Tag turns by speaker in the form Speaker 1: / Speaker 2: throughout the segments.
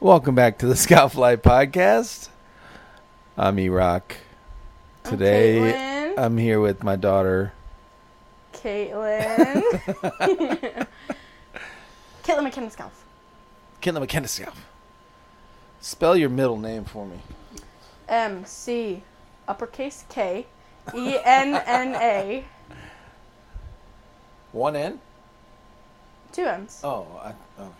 Speaker 1: Welcome back to the Scoutfly Podcast. I'm E-Rock.
Speaker 2: I'm
Speaker 1: Today, uh,
Speaker 2: Caitlin.
Speaker 1: I'm here with my daughter.
Speaker 2: Caitlin. Caitlin McKinnon Scouts.
Speaker 1: Kendall McKenna Spell your middle name for me.
Speaker 2: M C uppercase K E N N A.
Speaker 1: One N?
Speaker 2: Two M's.
Speaker 1: Oh, I, okay.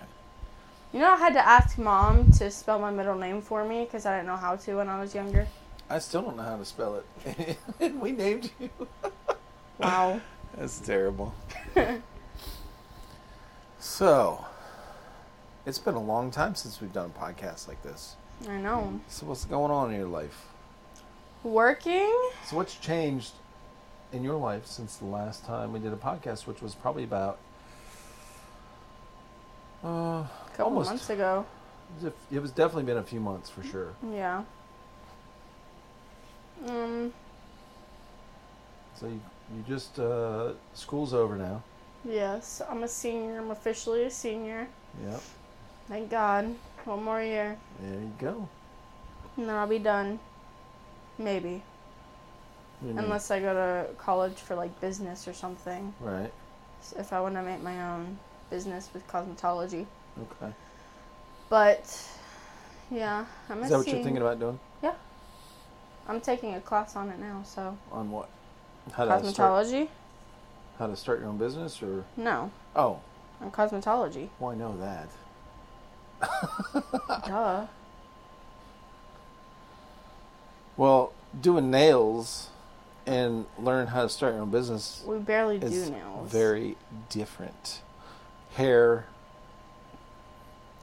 Speaker 2: You know, I had to ask mom to spell my middle name for me because I didn't know how to when I was younger.
Speaker 1: I still don't know how to spell it. and we named you.
Speaker 2: Wow.
Speaker 1: That's terrible. so, it's been a long time since we've done a podcast like this.
Speaker 2: I know.
Speaker 1: So, what's going on in your life?
Speaker 2: Working?
Speaker 1: So, what's changed in your life since the last time we did a podcast, which was probably about uh,
Speaker 2: A couple
Speaker 1: Almost.
Speaker 2: months ago.
Speaker 1: it was a- it was definitely been a few months for sure.
Speaker 2: Yeah. Um,
Speaker 1: So you, you just uh, school's over now.
Speaker 2: yes, I'm a senior. I'm officially a senior.
Speaker 1: Yep.
Speaker 2: Thank God. One more year.
Speaker 1: There you go.
Speaker 2: And then I'll be done. Maybe.
Speaker 1: You know,
Speaker 2: Unless I go to college for like business or something.
Speaker 1: right.
Speaker 2: S- If I want to make my own business with cosmetology.
Speaker 1: Okay.
Speaker 2: But yeah, I'm
Speaker 1: Is
Speaker 2: a
Speaker 1: that what you're
Speaker 2: senior.
Speaker 1: thinking about doing?
Speaker 2: I'm taking a class on it now, so
Speaker 1: On what? How to start,
Speaker 2: cosmetology?
Speaker 1: how to start your own business or
Speaker 2: No.
Speaker 1: oh,
Speaker 2: On cosmetology.
Speaker 1: well I know that.
Speaker 2: Duh.
Speaker 1: Well, doing nails and learn how to start your own business
Speaker 2: We barely do
Speaker 1: is
Speaker 2: nails.
Speaker 1: very different. Hair,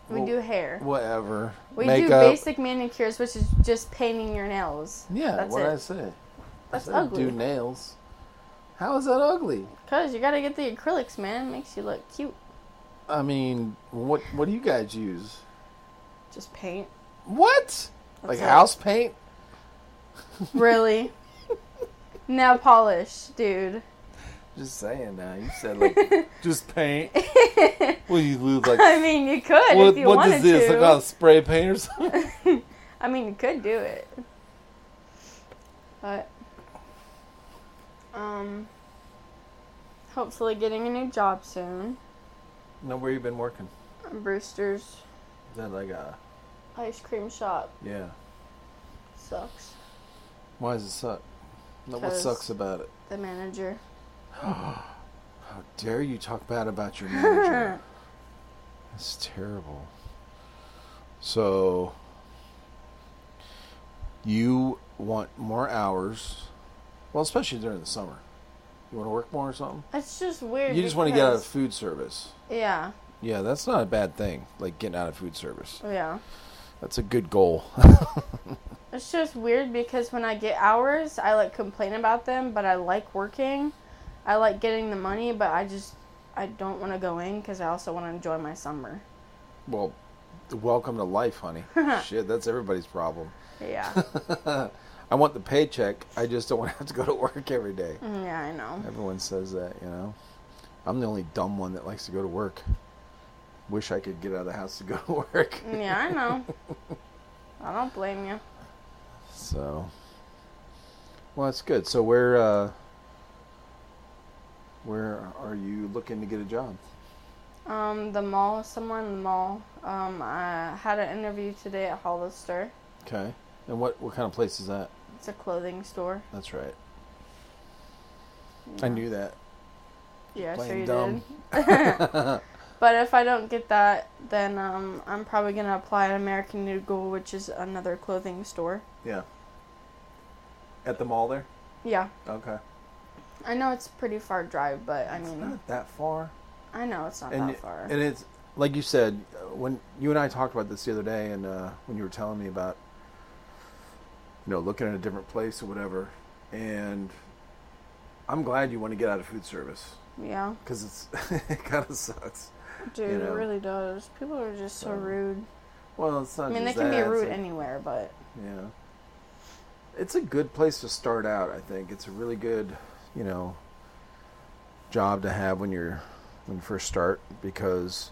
Speaker 2: we do hair.
Speaker 1: whatever.
Speaker 2: we
Speaker 1: Makeup.
Speaker 2: do basic manicures, which is just painting your nails.
Speaker 1: yeah,
Speaker 2: That's
Speaker 1: what
Speaker 2: it.
Speaker 1: I say.
Speaker 2: That's
Speaker 1: I said
Speaker 2: ugly.
Speaker 1: Do nails. How is that ugly?
Speaker 2: Cause you gotta get the acrylics, man. It makes you look cute.
Speaker 1: I mean, what what do you guys use?
Speaker 2: Just paint.
Speaker 1: What? Like
Speaker 2: it.
Speaker 1: house paint?
Speaker 2: Really? nail polish, dude.
Speaker 1: Just saying now. You said like just paint. Well, you lose like
Speaker 2: I mean, you could
Speaker 1: what,
Speaker 2: if you
Speaker 1: what
Speaker 2: wanted
Speaker 1: is this?
Speaker 2: to.
Speaker 1: Like a spray paint or something?
Speaker 2: I mean, you could do it. But um hopefully getting a new job soon.
Speaker 1: no, where you been working?
Speaker 2: Brewster's
Speaker 1: Is that like a
Speaker 2: ice cream shop
Speaker 1: yeah?
Speaker 2: sucks.
Speaker 1: Why does it suck? No, what
Speaker 2: 'Cause-
Speaker 1: sucks about it?
Speaker 2: The manager.
Speaker 1: How dare you talk bad about your manager? That's terrible. So you want more hours? Well, especially during the summer. You want to work more or something?
Speaker 2: It's just weird.
Speaker 1: You just want to get out of
Speaker 2: because-
Speaker 1: food service.
Speaker 2: Yeah.
Speaker 1: Yeah, that's not a bad thing. Like getting out of food service.
Speaker 2: Yeah.
Speaker 1: That's a good goal.
Speaker 2: It's just weird because when I get hours, I like complain about them, but I like working. I like getting the money, but I just I don't want to go in because I also want to enjoy my summer.
Speaker 1: well, welcome to life, honey. Shit, that's everybody's problem.
Speaker 2: Yeah,
Speaker 1: I want the paycheck. I just don't want to have to go to work every day.
Speaker 2: Mm, yeah, I know.
Speaker 1: Everyone says that, you know. I'm the only dumb one that likes to go to work. Wish I could get out of the house to go to work.
Speaker 2: Mm, Yeah, I know. I don't blame you.
Speaker 1: So, well, that's good. So where uh, where are you looking to get a job?
Speaker 2: Um, the mall, somewhere in the mall. Um, I had an interview today at Hollister.
Speaker 1: Okay. And what what kind of place is that?
Speaker 2: It's a clothing store.
Speaker 1: That's right. I knew that.
Speaker 2: Yeah, sure
Speaker 1: Playing
Speaker 2: you
Speaker 1: dumb.
Speaker 2: did. But if I don't get that, then um, I'm probably gonna apply at American Eagle, which is another clothing store.
Speaker 1: yeah. At the mall there.
Speaker 2: Yeah,
Speaker 1: Okay.
Speaker 2: I know it's a pretty far drive, but I
Speaker 1: It's
Speaker 2: mean,
Speaker 1: not that far.
Speaker 2: I know it's not
Speaker 1: and
Speaker 2: that
Speaker 1: it-
Speaker 2: far.
Speaker 1: and it's like you said uh, when you and I talked about this the other day, and uh, when you were telling me about you know looking at a different place or whatever, and I'm glad you want to get out of food service
Speaker 2: yeah,
Speaker 1: because it's it kind of sucks.
Speaker 2: dude,
Speaker 1: you know.
Speaker 2: it really does. People are just so
Speaker 1: So,
Speaker 2: rude.
Speaker 1: Well, it's not.
Speaker 2: I mean, they
Speaker 1: just
Speaker 2: can be
Speaker 1: that, it's
Speaker 2: rude
Speaker 1: like-
Speaker 2: anywhere, but
Speaker 1: Yeah. It's a good place to start out, I think. It's a really good, you know, job to have when you're when you first start because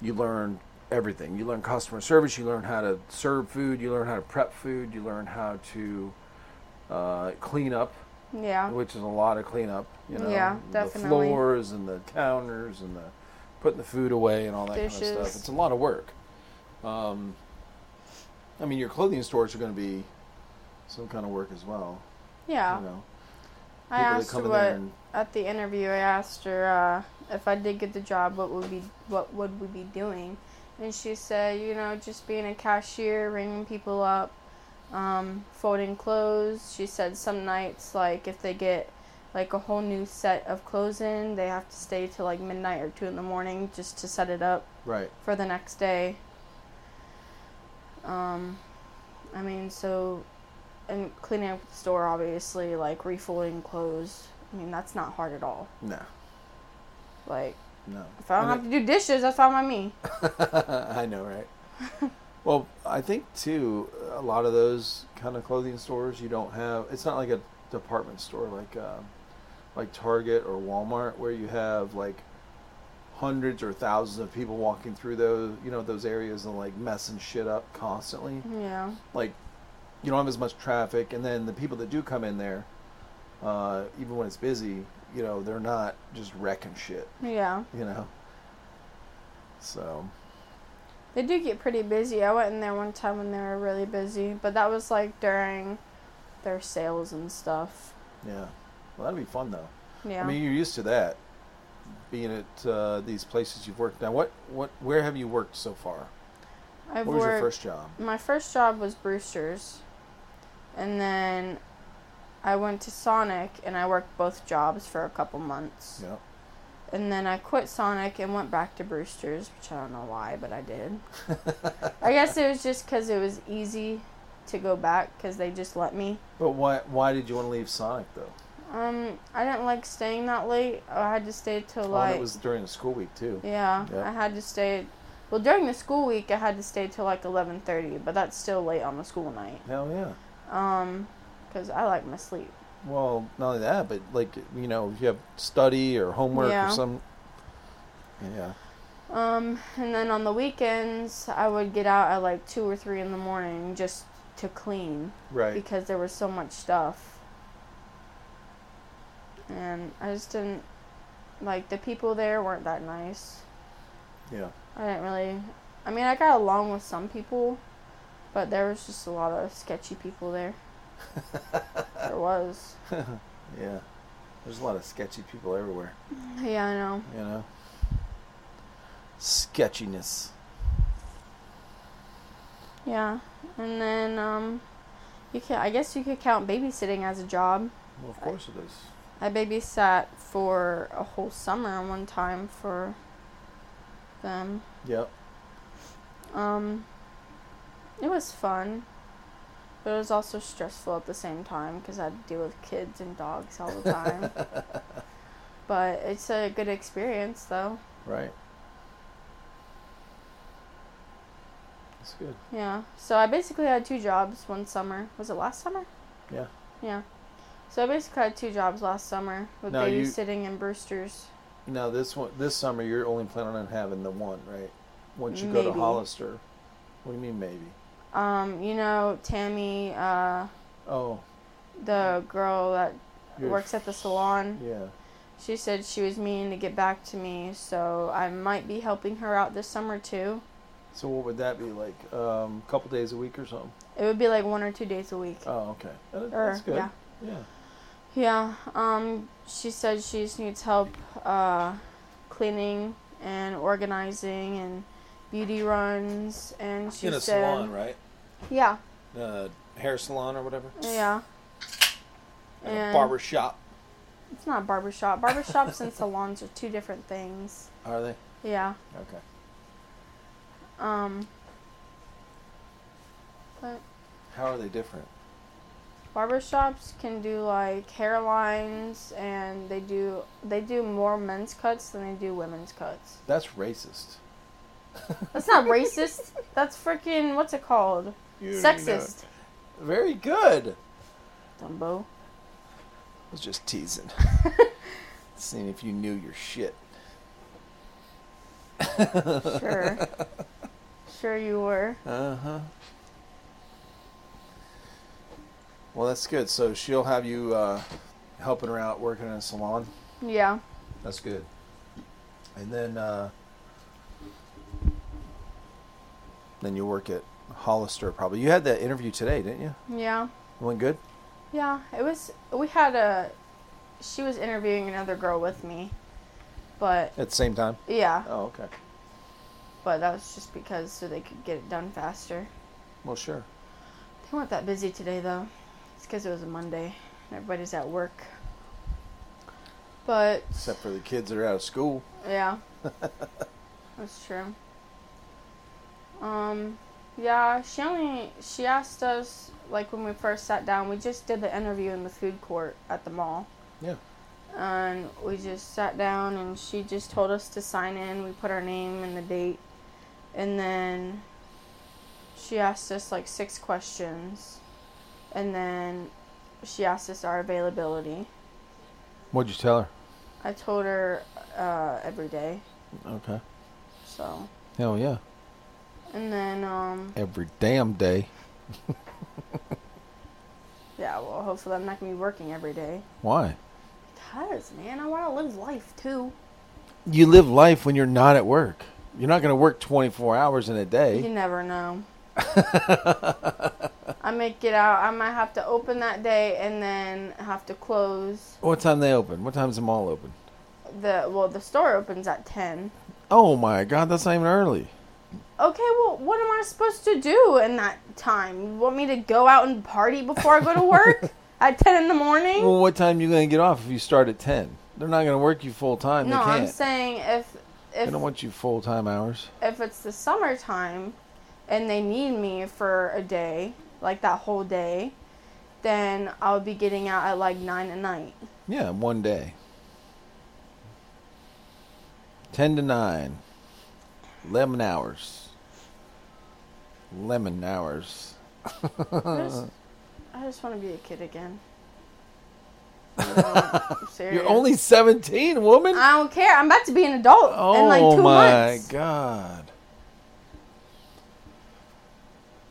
Speaker 1: you learn everything. You learn customer service. You learn how to serve food. You learn how to prep food. You learn how to uh, clean up,
Speaker 2: Yeah.
Speaker 1: which is a lot of cleanup. You know,
Speaker 2: Yeah,
Speaker 1: The
Speaker 2: definitely.
Speaker 1: floors and the counters and the putting the food away and all that kind of
Speaker 2: Dishes.
Speaker 1: stuff. It's a lot of work. Um, I mean, your clothing stores are going to be some kind of work as well.
Speaker 2: Yeah.
Speaker 1: You know,
Speaker 2: I
Speaker 1: people that
Speaker 2: asked her
Speaker 1: come in
Speaker 2: what
Speaker 1: there and-
Speaker 2: at the interview. I asked her uh, if I did get the job, what would be what would we be doing, and she said, you know, just being a cashier, ringing people up, um, folding clothes. She said some nights, like if they get like a whole new set of clothes in, they have to stay till like midnight or two in the morning just to set it up
Speaker 1: right.
Speaker 2: for the next day. Um, I mean, so, and cleaning up the store, obviously, like refolding clothes. I mean, that's not hard at all.
Speaker 1: No,
Speaker 2: Like,
Speaker 1: no.
Speaker 2: if I
Speaker 1: And
Speaker 2: don't
Speaker 1: it-
Speaker 2: have to do dishes, that's fine by me.
Speaker 1: I know, right? well, I think too, a lot of those kind of clothing stores you don't have. It's not like a department store like um, like Target or Walmart where you have like hundreds or thousands of people walking through those you know those areas and like messing shit up constantly.
Speaker 2: Yeah.
Speaker 1: Like you don't have as much traffic, and then the people that do come in there, uh, even when it's busy, you know they're not just wrecking shit.
Speaker 2: Yeah.
Speaker 1: You know, so.
Speaker 2: They do get pretty busy. I went in there one time when they were really busy, but that was like during their sales and stuff.
Speaker 1: Yeah. Well, that'd be fun though.
Speaker 2: Yeah.
Speaker 1: I mean, you're used to that, being at uh, these places you've worked. Now, what, what, where have you worked so far?
Speaker 2: I've
Speaker 1: what was your
Speaker 2: worked-
Speaker 1: first job?
Speaker 2: my first job was Brewster's, and then I went to Sonic and I worked both jobs for a couple months.
Speaker 1: Yeah.
Speaker 2: And then I quit Sonic and went back to Brewster's, which I don't know why, but I did. I guess it was just because it was easy to go back because they just let me.
Speaker 1: But why, why did you want to leave Sonic though?
Speaker 2: Um, I didn't like staying that late. I had to stay till
Speaker 1: oh, and
Speaker 2: like
Speaker 1: it was during the school week too.
Speaker 2: yeah,
Speaker 1: Yeah.
Speaker 2: I had to stay. Well, during the school week, I had to stay till like eleven thirty, but that's still late on a school night.
Speaker 1: Hell yeah.
Speaker 2: Um, because I like my sleep.
Speaker 1: Well, not only that, but like you know, if you have study or homework
Speaker 2: Yeah.
Speaker 1: or some. Yeah.
Speaker 2: Um, and then on the weekends, I would get out at like two or three in the morning just to clean
Speaker 1: Right.
Speaker 2: because there was so much stuff. And I just didn't like the people there weren't that nice.
Speaker 1: Yeah.
Speaker 2: I didn't really. I mean, I got along with some people, but there was just a lot of sketchy people there. there was.
Speaker 1: Yeah. There's a lot of sketchy people everywhere.
Speaker 2: Yeah, I know.
Speaker 1: You know. Sketchiness.
Speaker 2: Yeah, and then um, you can. I guess you could count babysitting as a job.
Speaker 1: Well, of course it is.
Speaker 2: I babysat for a whole summer one time for them.
Speaker 1: Yep.
Speaker 2: Um, it was fun, but it was also stressful at the same time because I had to deal with kids and dogs all the time. but it's a good experience, though.
Speaker 1: Right. That's good.
Speaker 2: Yeah. So I basically had two jobs one summer. Was it last summer?
Speaker 1: Yeah.
Speaker 2: Yeah. So I basically had two jobs last summer with
Speaker 1: Now you-
Speaker 2: babysitting and Brewster's.
Speaker 1: Now this one, this summer, you're only planning on having the one, right? Once you go to
Speaker 2: Maybe.
Speaker 1: Hollister. What do you mean maybe?
Speaker 2: Um, you know, Tammy, uh,
Speaker 1: Oh,
Speaker 2: the girl that
Speaker 1: you're-
Speaker 2: works at the salon,
Speaker 1: Yeah.
Speaker 2: she said she was meaning to get back to me, so I might be helping her out this summer too.
Speaker 1: So what would that be like? A um, couple days a week or something?
Speaker 2: It would be like one or two days a week.
Speaker 1: Oh, okay. That-
Speaker 2: Or-
Speaker 1: that's good.
Speaker 2: yeah.
Speaker 1: Yeah.
Speaker 2: Yeah, um, she said she just needs help uh, cleaning and organizing and beauty runs, and she said,
Speaker 1: right?
Speaker 2: yeah,
Speaker 1: Uh, hair salon or whatever.
Speaker 2: yeah, and
Speaker 1: shop.
Speaker 2: It's not a barbershop. Barbershops and salons are two different things.
Speaker 1: Are they?
Speaker 2: Yeah.
Speaker 1: Okay.
Speaker 2: Um. But
Speaker 1: How are they different?
Speaker 2: barbershops can do like hairlines, and they do they do more men's cuts than they do women's cuts.
Speaker 1: That's racist.
Speaker 2: That's not racist. That's freaking what's it called? Sexist.
Speaker 1: Very good.
Speaker 2: Dumbo.
Speaker 1: I was just teasing. Seeing if you knew your shit.
Speaker 2: Sure. sure you were.
Speaker 1: Uh huh. Well, that's good. So she'll have you uh, helping her out, working in a salon.
Speaker 2: Yeah.
Speaker 1: That's good. And then, uh, then you work at Hollister. Probably you had that interview today, didn't you?
Speaker 2: Yeah.
Speaker 1: It went good.
Speaker 2: Yeah, it was. We had a. She was interviewing another girl with me, but
Speaker 1: At the same time.
Speaker 2: yeah,
Speaker 1: Oh, okay.
Speaker 2: but that was just because so they could get it done faster.
Speaker 1: Well, sure.
Speaker 2: They weren't that busy today though. It's because it was a Monday and everybody's at work. But
Speaker 1: Except for the kids that are out of school.
Speaker 2: yeah, that's true. Um, yeah, she only she asked us like when we first sat down. We just did the interview in the food court at the mall.
Speaker 1: Yeah.
Speaker 2: and we just sat down and she just told us to sign in we put our name and the date and then she asked us like six questions and then she asked us our availability
Speaker 1: What'd you tell her?
Speaker 2: i told her uh, every day
Speaker 1: Okay.
Speaker 2: so
Speaker 1: Hell yeah.
Speaker 2: and then um
Speaker 1: Every damn day.
Speaker 2: yeah well hopefully i'm not gonna be working every day
Speaker 1: Why?
Speaker 2: because man i want to live life too
Speaker 1: You live life when you're not at work. You're not going to work 24 hours in a
Speaker 2: You
Speaker 1: day.
Speaker 2: never know. I may get out. I might have to open that day and then have to close
Speaker 1: What time they open? What time's the mall open?
Speaker 2: the. Well, the store opens at ten.
Speaker 1: Oh my god, that's not even early.
Speaker 2: Okay, well, what am I supposed to do in that time? You want me to go out and party before I go to work at ten in the morning?
Speaker 1: Well, what time you going to get off if you start at 10? They're not going to work you full time.
Speaker 2: no,
Speaker 1: they can't.
Speaker 2: I'm saying if
Speaker 1: they
Speaker 2: if
Speaker 1: don't want you full time hours.
Speaker 2: if it's the summertime and they need me for a day, like that whole day, then I'll be getting out at like nine at night.
Speaker 1: Yeah, one day. 10 to 9. 11 hours. Lemon hours. Uh.
Speaker 2: I just, I just want to be a kid again. I'm serious.
Speaker 1: You're only 17, woman?
Speaker 2: I don't care. I'm about to be an adult
Speaker 1: oh
Speaker 2: in like two
Speaker 1: my
Speaker 2: months.
Speaker 1: god.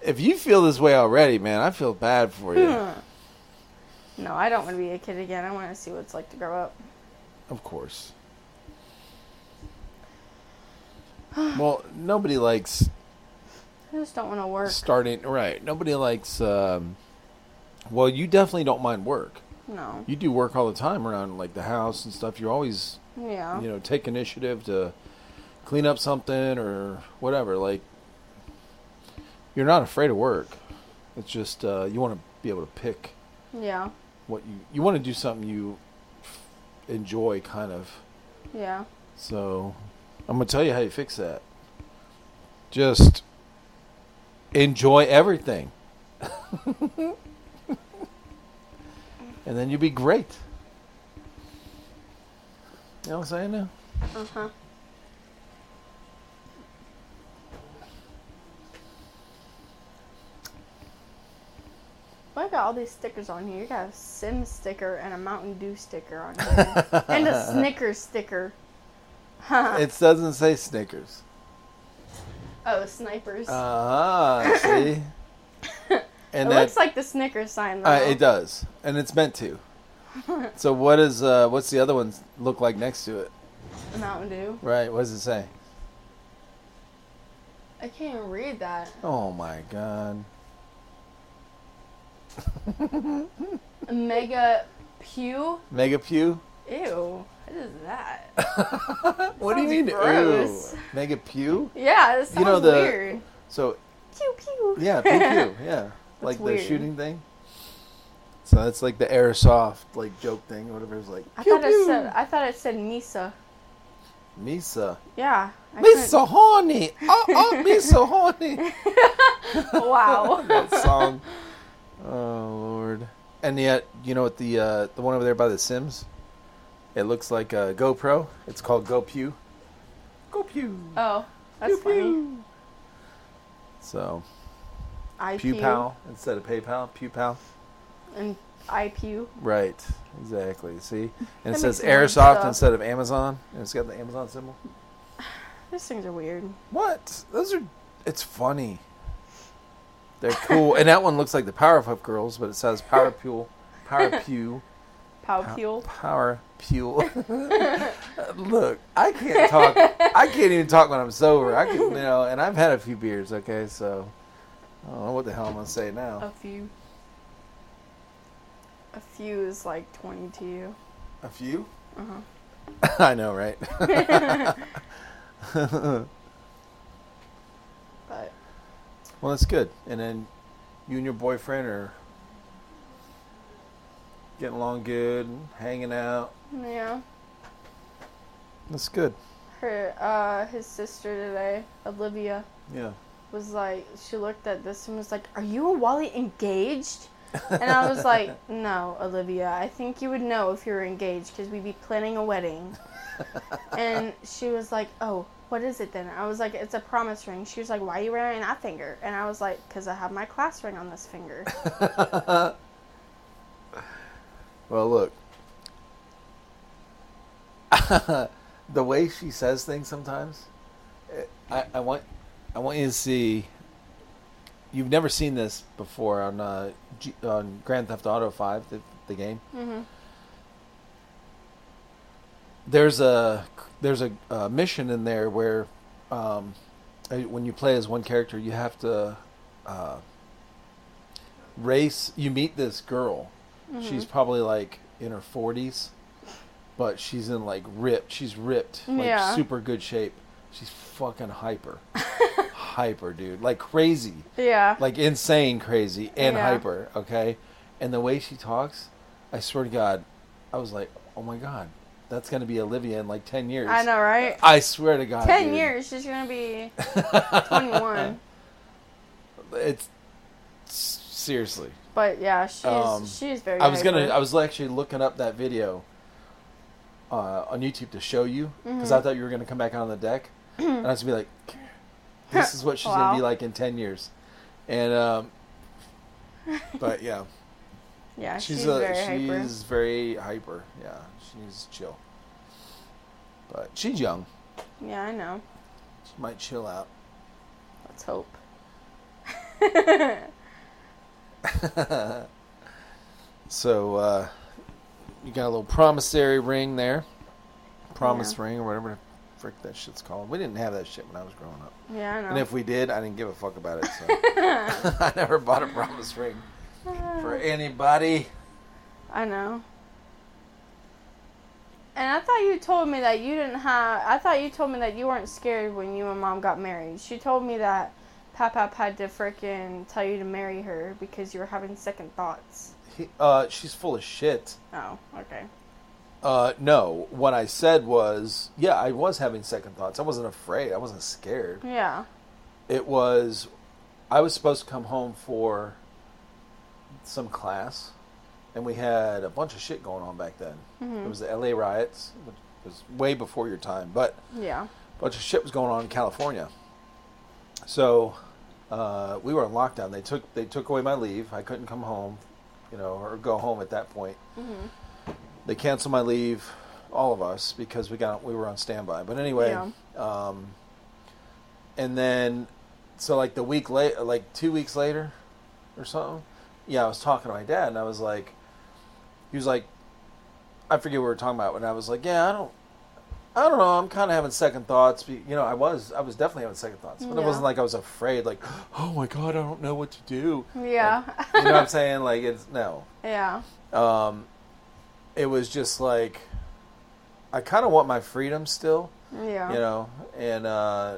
Speaker 1: If you feel this way already, man, I feel bad for you.
Speaker 2: Hmm. No, I don't want to be a kid again. I want to see what it's like to grow up.
Speaker 1: Of course. well, nobody likes
Speaker 2: I just don't want to work.
Speaker 1: starting right nobody likes um, well you definitely don't mind work
Speaker 2: No.
Speaker 1: you do work all the time around like the house and stuff you always
Speaker 2: Yeah.
Speaker 1: you know take initiative to clean up something or whatever like you're not afraid of work it's just uh, you want to be able to pick
Speaker 2: Yeah.
Speaker 1: what you you want to do something you f- enjoy kind of
Speaker 2: Yeah.
Speaker 1: so i'm gonna tell you how you fix that just enjoy everything and then you'll be great you know what i'm saying now
Speaker 2: Uh huh. Why I got all these stickers on here? You got a Sim sticker and a Mountain Dew sticker on here, and a Snickers sticker.
Speaker 1: it doesn't say Snickers.
Speaker 2: Oh, snipers.
Speaker 1: Ah, see.
Speaker 2: it
Speaker 1: And
Speaker 2: looks
Speaker 1: that's
Speaker 2: like the Snickers sign, though.
Speaker 1: uh, it does, and it's meant to. so what is uh, what's the other one look like next to it?
Speaker 2: Mountain Dew.
Speaker 1: Right. What does it say?
Speaker 2: I can't even read that.
Speaker 1: Oh my god.
Speaker 2: Mega Pew.
Speaker 1: Mega Pew.
Speaker 2: Ew. What is that?
Speaker 1: What do you mean?
Speaker 2: Sounds gross.
Speaker 1: Ew. Mega Pew.
Speaker 2: Yeah, it sounds
Speaker 1: You know the-
Speaker 2: weird.
Speaker 1: So
Speaker 2: Pew pew.
Speaker 1: yeah, pew pew. Yeah, like the
Speaker 2: weird.
Speaker 1: shooting thing. So that's like the airsoft like joke thing, or whatever. It's like
Speaker 2: I
Speaker 1: pew
Speaker 2: thought
Speaker 1: pew.
Speaker 2: it said. I thought it said Misa.
Speaker 1: Misa.
Speaker 2: Yeah. I
Speaker 1: Misa horny. Oh oh, Misa horny.
Speaker 2: couldn't- Wow.
Speaker 1: that song. Oh lord! And yet, you know what the uh, the one over there by the Sims? It looks like a GoPro. It's called GoPew. GoPew.
Speaker 2: oh, that's funny.
Speaker 1: Pew. So
Speaker 2: I
Speaker 1: Pew Pal instead of PayPal, Pew Pal.
Speaker 2: and I pew.
Speaker 1: Right. Exactly. See, and
Speaker 2: That
Speaker 1: it says
Speaker 2: makes more
Speaker 1: Airsoft
Speaker 2: stuff.
Speaker 1: instead of Amazon, and it's got the Amazon symbol.
Speaker 2: These things are weird.
Speaker 1: What? Those are It's funny. They're cool, and that one looks like the Powerpuff Girls, but it says Power Pew, Power Pew,
Speaker 2: Pow Peel.
Speaker 1: Power Pew. Look, I can't talk. I can't even talk when I'm sober. I can, you know, and I've had a few beers. Okay, so I don't know what the hell I'm gonna say
Speaker 2: A
Speaker 1: now.
Speaker 2: few. A few is like 20 to you.
Speaker 1: A few?
Speaker 2: Uh-huh.
Speaker 1: I know, right?
Speaker 2: But
Speaker 1: well, that's good. And then you and your boyfriend are getting along good, hanging out.
Speaker 2: yeah,
Speaker 1: That's good.
Speaker 2: her uh his sister today, Olivia,
Speaker 1: Yeah.
Speaker 2: was like she looked at this and was like, "Are you and Wally engaged?" And I was like, "No, Olivia. I think you would know if you were engaged because we'd be planning a wedding." and she was like, "Oh, what is it then?" I was like, "It's a promise ring." She was like, "Why are you wearing that finger?" And I was like, "Cause I have my class ring on this finger."
Speaker 1: well, look. the way she says things sometimes, eh, I, I want, I want you to see. You've never seen this before on uh, G, on Grand Theft Auto Five, the, the game.
Speaker 2: mm-hmm.
Speaker 1: There's a there's a, uh mission in there where, um, eh, when you play as one character, you have to uh, race. You meet this girl,
Speaker 2: Mm-hmm.
Speaker 1: She's probably like in her forties, but she's in like ripped. She's ripped, like
Speaker 2: Yeah.
Speaker 1: super good shape. She's fucking hyper, hyper, dude, like crazy,
Speaker 2: yeah.
Speaker 1: like insane crazy and
Speaker 2: Yeah.
Speaker 1: hyper. Okay, and the way she talks, I swear to God, I was like, oh my God, that's gonna be Olivia in like ten years.
Speaker 2: I know, right?
Speaker 1: I swear to God,
Speaker 2: Ten
Speaker 1: dude.
Speaker 2: years. She's gonna be twenty-one.
Speaker 1: It's s- seriously.
Speaker 2: But yeah, she's
Speaker 1: Um,
Speaker 2: she's very.
Speaker 1: I was gonna.
Speaker 2: hyper.
Speaker 1: I was actually looking up that video uh, on YouTube to show you because
Speaker 2: Mm-hmm.
Speaker 1: I thought you were gonna come back on the deck, and I was gonna be like, "This is what she's gonna be
Speaker 2: Wow.
Speaker 1: like in ten years," and um, but yeah,
Speaker 2: yeah,
Speaker 1: she's
Speaker 2: she's,
Speaker 1: a,
Speaker 2: very hyper.
Speaker 1: she's very hyper. Yeah, she needs to chill. But she's young.
Speaker 2: Yeah, I know.
Speaker 1: She might chill out.
Speaker 2: Let's hope.
Speaker 1: So uh, you got a little promissory ring there, promise ring or whatever the frick that shit's called. We didn't have that shit when I was growing up.
Speaker 2: Yeah, I know.
Speaker 1: And if we did, I didn't give a fuck about it. So I never bought a promise ring
Speaker 2: Oh.
Speaker 1: for anybody.
Speaker 2: I know. And I thought you told me that you didn't have. I thought you told me that you weren't scared when you and mom got married. She told me that Papap had to frickin' tell you to marry her because you were having second thoughts.
Speaker 1: He, uh, she's full of shit.
Speaker 2: Oh, okay.
Speaker 1: Uh, no, what I said was, yeah, I was having second thoughts. I wasn't afraid. I wasn't scared.
Speaker 2: Yeah.
Speaker 1: It was, I was supposed to come home for some class, and we had a bunch of shit going on back then. It was the LA riots, which was way before your time, but
Speaker 2: Yeah.
Speaker 1: bunch of shit was going on in California. So uh, we were in lockdown. They took they took away my leave. I couldn't come home, you know, or go home at that point. They canceled my leave, all of us, because we got we were on standby. But anyway, um, and then so like the week late, like two weeks later, or something. Yeah, I was talking to my dad, and I was like, he was like, I forget what we were talking about, and I was like, yeah, I don't, I don't know. I'm kind of having second thoughts. be- You know, I was, I was definitely having second thoughts, but it
Speaker 2: Yeah.
Speaker 1: wasn't like I was afraid. Like, oh my god, I don't know what to do.
Speaker 2: Yeah.
Speaker 1: You know what I'm saying? Like, it's no.
Speaker 2: yeah.
Speaker 1: Um, it was just like, I kind of want my freedom still,
Speaker 2: Yeah.
Speaker 1: you know, and uh,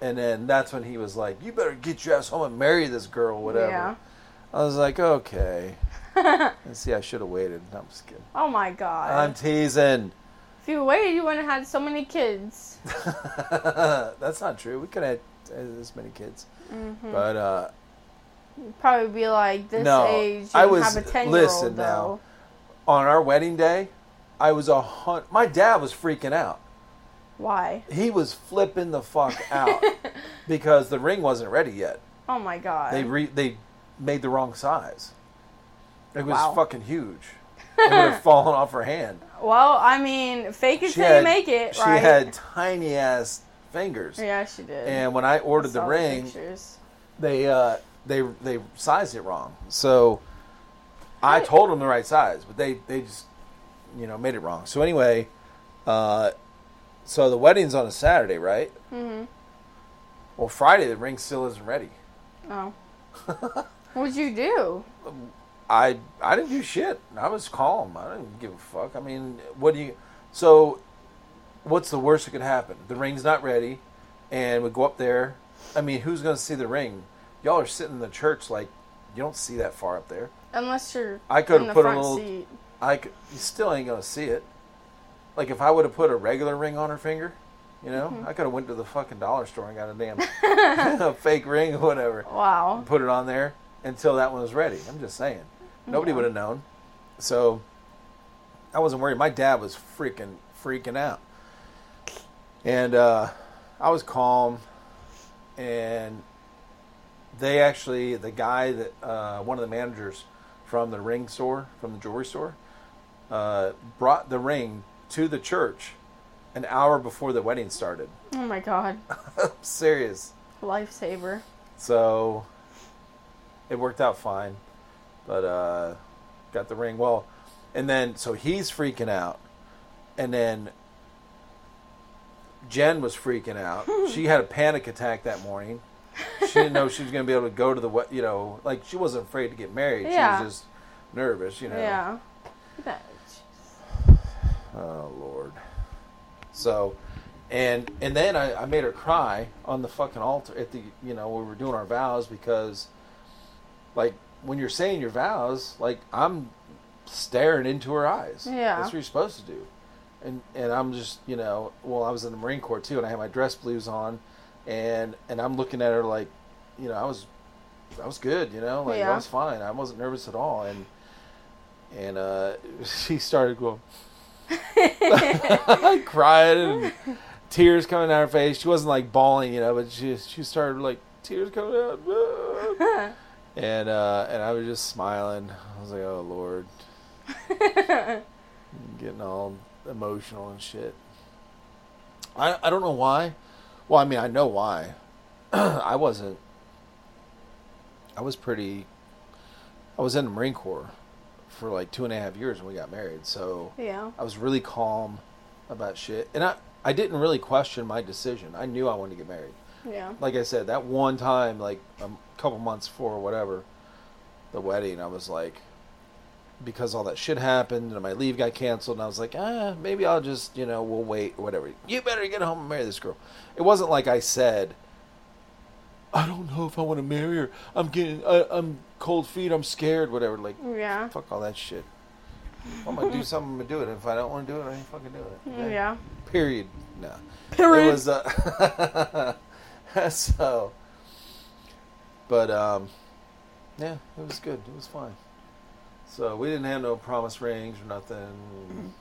Speaker 1: and then that's when he was like, you better get your ass home and marry this girl, whatever.
Speaker 2: Yeah.
Speaker 1: I was like, okay. and see, I should have waited. No, I'm just kidding.
Speaker 2: Oh my god.
Speaker 1: I'm teasing.
Speaker 2: if you waited, you wouldn't have had so many kids.
Speaker 1: That's not true. We could have had this many kids,
Speaker 2: Mm-hmm.
Speaker 1: but uh,
Speaker 2: You'd probably be like this
Speaker 1: No,
Speaker 2: age. You
Speaker 1: I
Speaker 2: can
Speaker 1: was-
Speaker 2: have a ten year
Speaker 1: listen
Speaker 2: old
Speaker 1: now.
Speaker 2: though.
Speaker 1: on our wedding day, I was a hun- My dad was freaking out.
Speaker 2: Why?
Speaker 1: He was flipping the fuck out because the ring wasn't ready yet.
Speaker 2: Oh my god.
Speaker 1: They re- they made the wrong size. It was
Speaker 2: Wow.
Speaker 1: fucking huge. It would have fallen off her hand.
Speaker 2: well, I mean, fake it till you make it,
Speaker 1: she
Speaker 2: right?
Speaker 1: had tiny ass fingers.
Speaker 2: Yeah, she did.
Speaker 1: And when I ordered the
Speaker 2: Saw
Speaker 1: ring,
Speaker 2: pictures.
Speaker 1: they uh, they they sized it wrong. So I
Speaker 2: Right.
Speaker 1: told them the right size, but they they just you know made it wrong. So anyway, uh, so the wedding's on a Saturday, right? Mm-hmm. Well, Friday the ring still isn't ready.
Speaker 2: Oh. What'd you do?
Speaker 1: I I didn't do shit. I was calm. I didn't give a fuck. I mean, what do you? So, what's the worst that could happen? The ring's not ready, and we go up there. I mean, who's gonna see the ring? Y'all are sitting in the church like you don't see that far up there.
Speaker 2: Unless you're
Speaker 1: I could've
Speaker 2: in the
Speaker 1: put a
Speaker 2: front
Speaker 1: little-
Speaker 2: seat.
Speaker 1: I c- you still ain't gonna see it. Like if I would have put a regular ring on her finger, you know, I could have went to the fucking dollar store and got a damn a fake ring or whatever.
Speaker 2: Wow.
Speaker 1: put it on there until that one was ready. I'm just saying. Nobody
Speaker 2: Yeah.
Speaker 1: would have known. So I wasn't worried. My dad was freaking freaking out. And uh, I was calm and they actually the guy that uh, one of the managers from the ring store, from the jewelry store, uh, brought the ring to the church an hour before the wedding started.
Speaker 2: Oh my god.
Speaker 1: I'm serious.
Speaker 2: Lifesaver.
Speaker 1: So it worked out fine. But uh got the ring. Well, and then so he's freaking out. And then Jen was freaking out. she had a panic attack that morning. She didn't know she was going to be able to go to the wed- you know, like she wasn't afraid to get married.
Speaker 2: Yeah.
Speaker 1: She was just nervous, you know.
Speaker 2: Yeah. That-
Speaker 1: Oh lord. So, and and then I, I made her cry on the fucking altar at the you know we were doing our vows because, like when you're saying your vows, like I'm staring into her eyes.
Speaker 2: Yeah.
Speaker 1: that's what you're supposed to do. And and I'm just you know well I was in the Marine Corps too and I had my dress blues on, and and I'm looking at her like, you know I was, I was good you know like
Speaker 2: Yeah.
Speaker 1: I was fine I wasn't nervous at all and. And uh, she started going, crying and tears coming out her face. She wasn't like bawling, you know, but she she started like tears coming out, and uh, and I was just smiling. I was like, oh lord, getting all emotional and shit. I I don't know why. Well, I mean, I know why. I wasn't. I was pretty. I was in the Marine Corps for like two and a half years when we got married, so.
Speaker 2: yeah.
Speaker 1: I was really calm about shit, and I I didn't really question my decision. I knew I wanted to get married.
Speaker 2: Yeah.
Speaker 1: Like I said, that one time, like a couple months before or whatever, the wedding, I was like, because all that shit happened and my leave got canceled, and I was like, ah, maybe I'll just you know we'll wait or whatever. You better get home and marry this girl. It wasn't like I said. I don't know if I want to marry her. I'm getting, I, I'm cold feet. I'm scared. Whatever. Like,
Speaker 2: Yeah.
Speaker 1: Fuck all that shit. If I'm gonna do something, I'm gonna do it. If I don't want to do it, I ain't fucking doing it. okay?
Speaker 2: Yeah.
Speaker 1: Period. No.
Speaker 2: Period.
Speaker 1: It was uh so but um yeah, it was good. It was fine. So we didn't have no promise rings or nothing.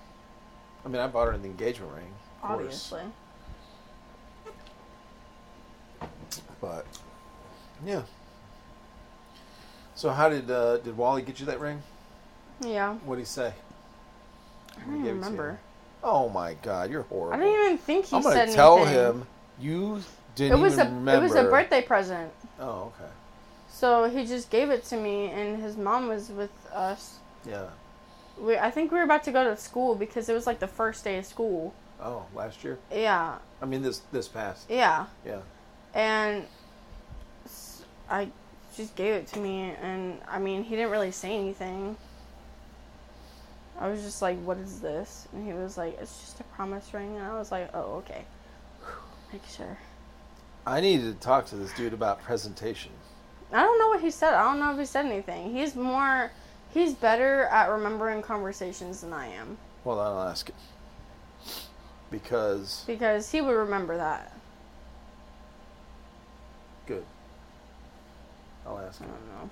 Speaker 1: I mean I bought her an engagement ring. Of course,
Speaker 2: Obviously.
Speaker 1: But yeah. So how did uh did Wally get you that ring?
Speaker 2: Yeah.
Speaker 1: What'd he say?
Speaker 2: I
Speaker 1: He gave
Speaker 2: don't even
Speaker 1: it to you.
Speaker 2: remember.
Speaker 1: Oh my god, you're horrible.
Speaker 2: I don't even think he
Speaker 1: I'm
Speaker 2: said
Speaker 1: gonna tell
Speaker 2: anything.
Speaker 1: him you
Speaker 2: It
Speaker 1: didn't
Speaker 2: was a
Speaker 1: even remember.
Speaker 2: it was a birthday present.
Speaker 1: Oh, okay.
Speaker 2: So he just gave it to me and his mom was with us.
Speaker 1: Yeah.
Speaker 2: We I think we were about to go to school because it was like the first day of school.
Speaker 1: Oh, last year.
Speaker 2: Yeah.
Speaker 1: I mean, this this past.
Speaker 2: Yeah.
Speaker 1: Yeah.
Speaker 2: and s- I just gave it to me, and I mean, he didn't really say anything. I was just like, "What is this?" And he was like, "It's just a promise ring," and I was like, "Oh, okay." Make sure.
Speaker 1: I needed to talk to this dude about presentation.
Speaker 2: I don't know what he said. I don't know if he said anything. He's more, he's better at remembering conversations than I am
Speaker 1: Well, I'll ask it because
Speaker 2: because he would remember that.
Speaker 1: good. I'll ask
Speaker 2: I
Speaker 1: him
Speaker 2: don't know.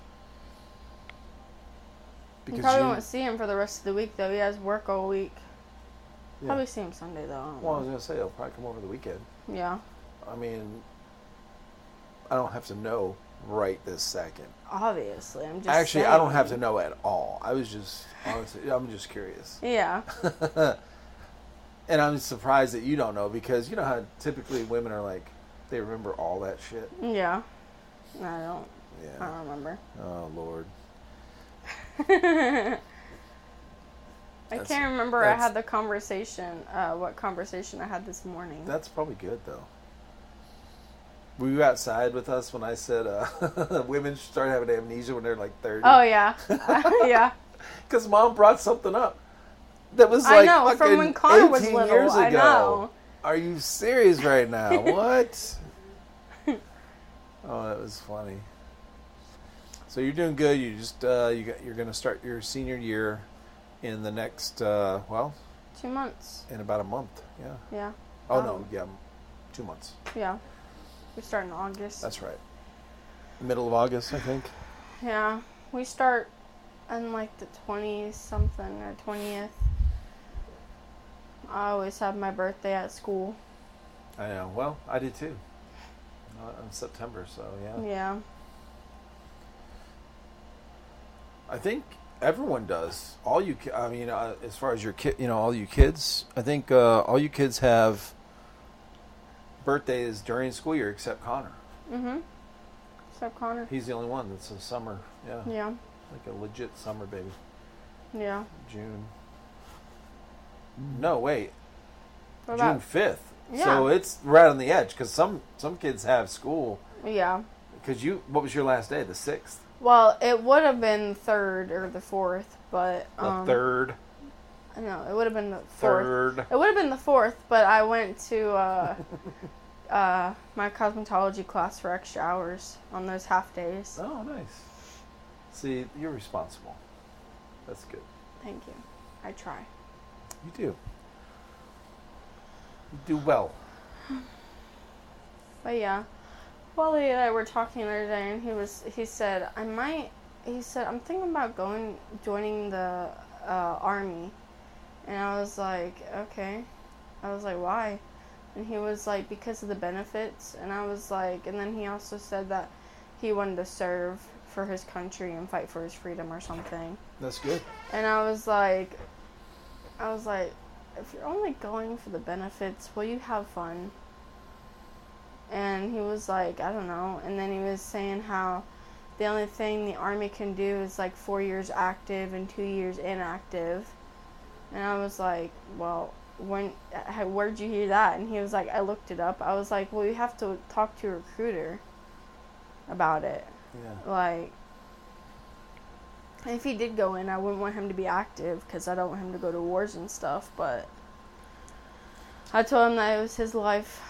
Speaker 1: because
Speaker 2: you probably
Speaker 1: you-
Speaker 2: won't see him for the rest of the week though. He has work all week.
Speaker 1: Yeah.
Speaker 2: Probably see him Sunday though. I don't
Speaker 1: Well, I was
Speaker 2: know.
Speaker 1: gonna say I'll probably come over the weekend.
Speaker 2: Yeah.
Speaker 1: I mean, I don't have to know right this second.
Speaker 2: Obviously, I'm just
Speaker 1: Actually, I don't
Speaker 2: saying.
Speaker 1: have to know at all. I was just honestly, I'm just curious.
Speaker 2: Yeah,
Speaker 1: And I'm surprised that you don't know because you know how typically women are like, they remember all that shit.
Speaker 2: Yeah. I don't. I
Speaker 1: Yeah.
Speaker 2: don't remember.
Speaker 1: Oh Lord.
Speaker 2: I
Speaker 1: That's-
Speaker 2: can't remember. I
Speaker 1: that's-
Speaker 2: had the conversation. Uh, what conversation I had this morning?
Speaker 1: That's probably good though. Were you outside with us when I said uh, women should start having amnesia when they're like thirty?
Speaker 2: oh yeah, yeah.
Speaker 1: because mom brought something up that was
Speaker 2: I
Speaker 1: like
Speaker 2: know, from
Speaker 1: fucking
Speaker 2: when Connor was
Speaker 1: 18
Speaker 2: little,
Speaker 1: Years ago.
Speaker 2: I know.
Speaker 1: Are you serious right now? what? Oh, that was funny. So you're doing good. You just uh, you got, you're going to start your senior year in the next uh, well
Speaker 2: Two months.
Speaker 1: in about a month. Yeah.
Speaker 2: Yeah,
Speaker 1: Oh
Speaker 2: Um,
Speaker 1: no, yeah, two months.
Speaker 2: yeah. We start in August.
Speaker 1: That's right. Middle of August, I think.
Speaker 2: yeah, we start on like the twenty something or twentieth. I always have my birthday at school.
Speaker 1: I know. Well, I did too. Uh, in September, so yeah.
Speaker 2: Yeah.
Speaker 1: I think everyone does. All you, ki- I mean, uh, as far as your kid, you know, all you kids. I think uh, all you kids have birthdays during school year, except Connor.
Speaker 2: Mhm. Except Connor.
Speaker 1: He's the only one that's a summer, yeah,
Speaker 2: Yeah.
Speaker 1: like a legit summer baby.
Speaker 2: Yeah.
Speaker 1: June. No, wait,
Speaker 2: What
Speaker 1: June
Speaker 2: about?
Speaker 1: fifth. So
Speaker 2: Yeah.
Speaker 1: it's right on the edge because some some kids have school.
Speaker 2: Yeah.
Speaker 1: Because you, what was your last day? The sixth,
Speaker 2: Well, it would have been the third or the fourth, but
Speaker 1: the
Speaker 2: um,
Speaker 1: third,
Speaker 2: No, it would have been the fourth.
Speaker 1: third.
Speaker 2: It would have been the fourth, but I went to uh, uh, my cosmetology class for extra hours on those half days.
Speaker 1: Oh, nice. See, you're responsible. That's good.
Speaker 2: Thank you. I try.
Speaker 1: You do. You do well.
Speaker 2: But yeah, Wally and I were talking the other day, and he was he said I might. He said I'm thinking about going joining the uh, army, and I was like, okay. I was like, why? And he was like, because of the benefits. And I was like, and then he also said that he wanted to serve for his country and fight for his freedom or something.
Speaker 1: That's good.
Speaker 2: And I was like, I was like, if you're only going for the benefits, will you have fun? And he was like, I don't know. And then he was saying how the only thing the army can do is like four years active and two years inactive. And I was like, well, when h- where'd you hear that? And he was like, I looked it up. I was like, well, you have to talk to your recruiter about it.
Speaker 1: Yeah.
Speaker 2: Like, if he did go in, I wouldn't want him to be active because I don't want him to go to wars and stuff. But I told him that it was his life.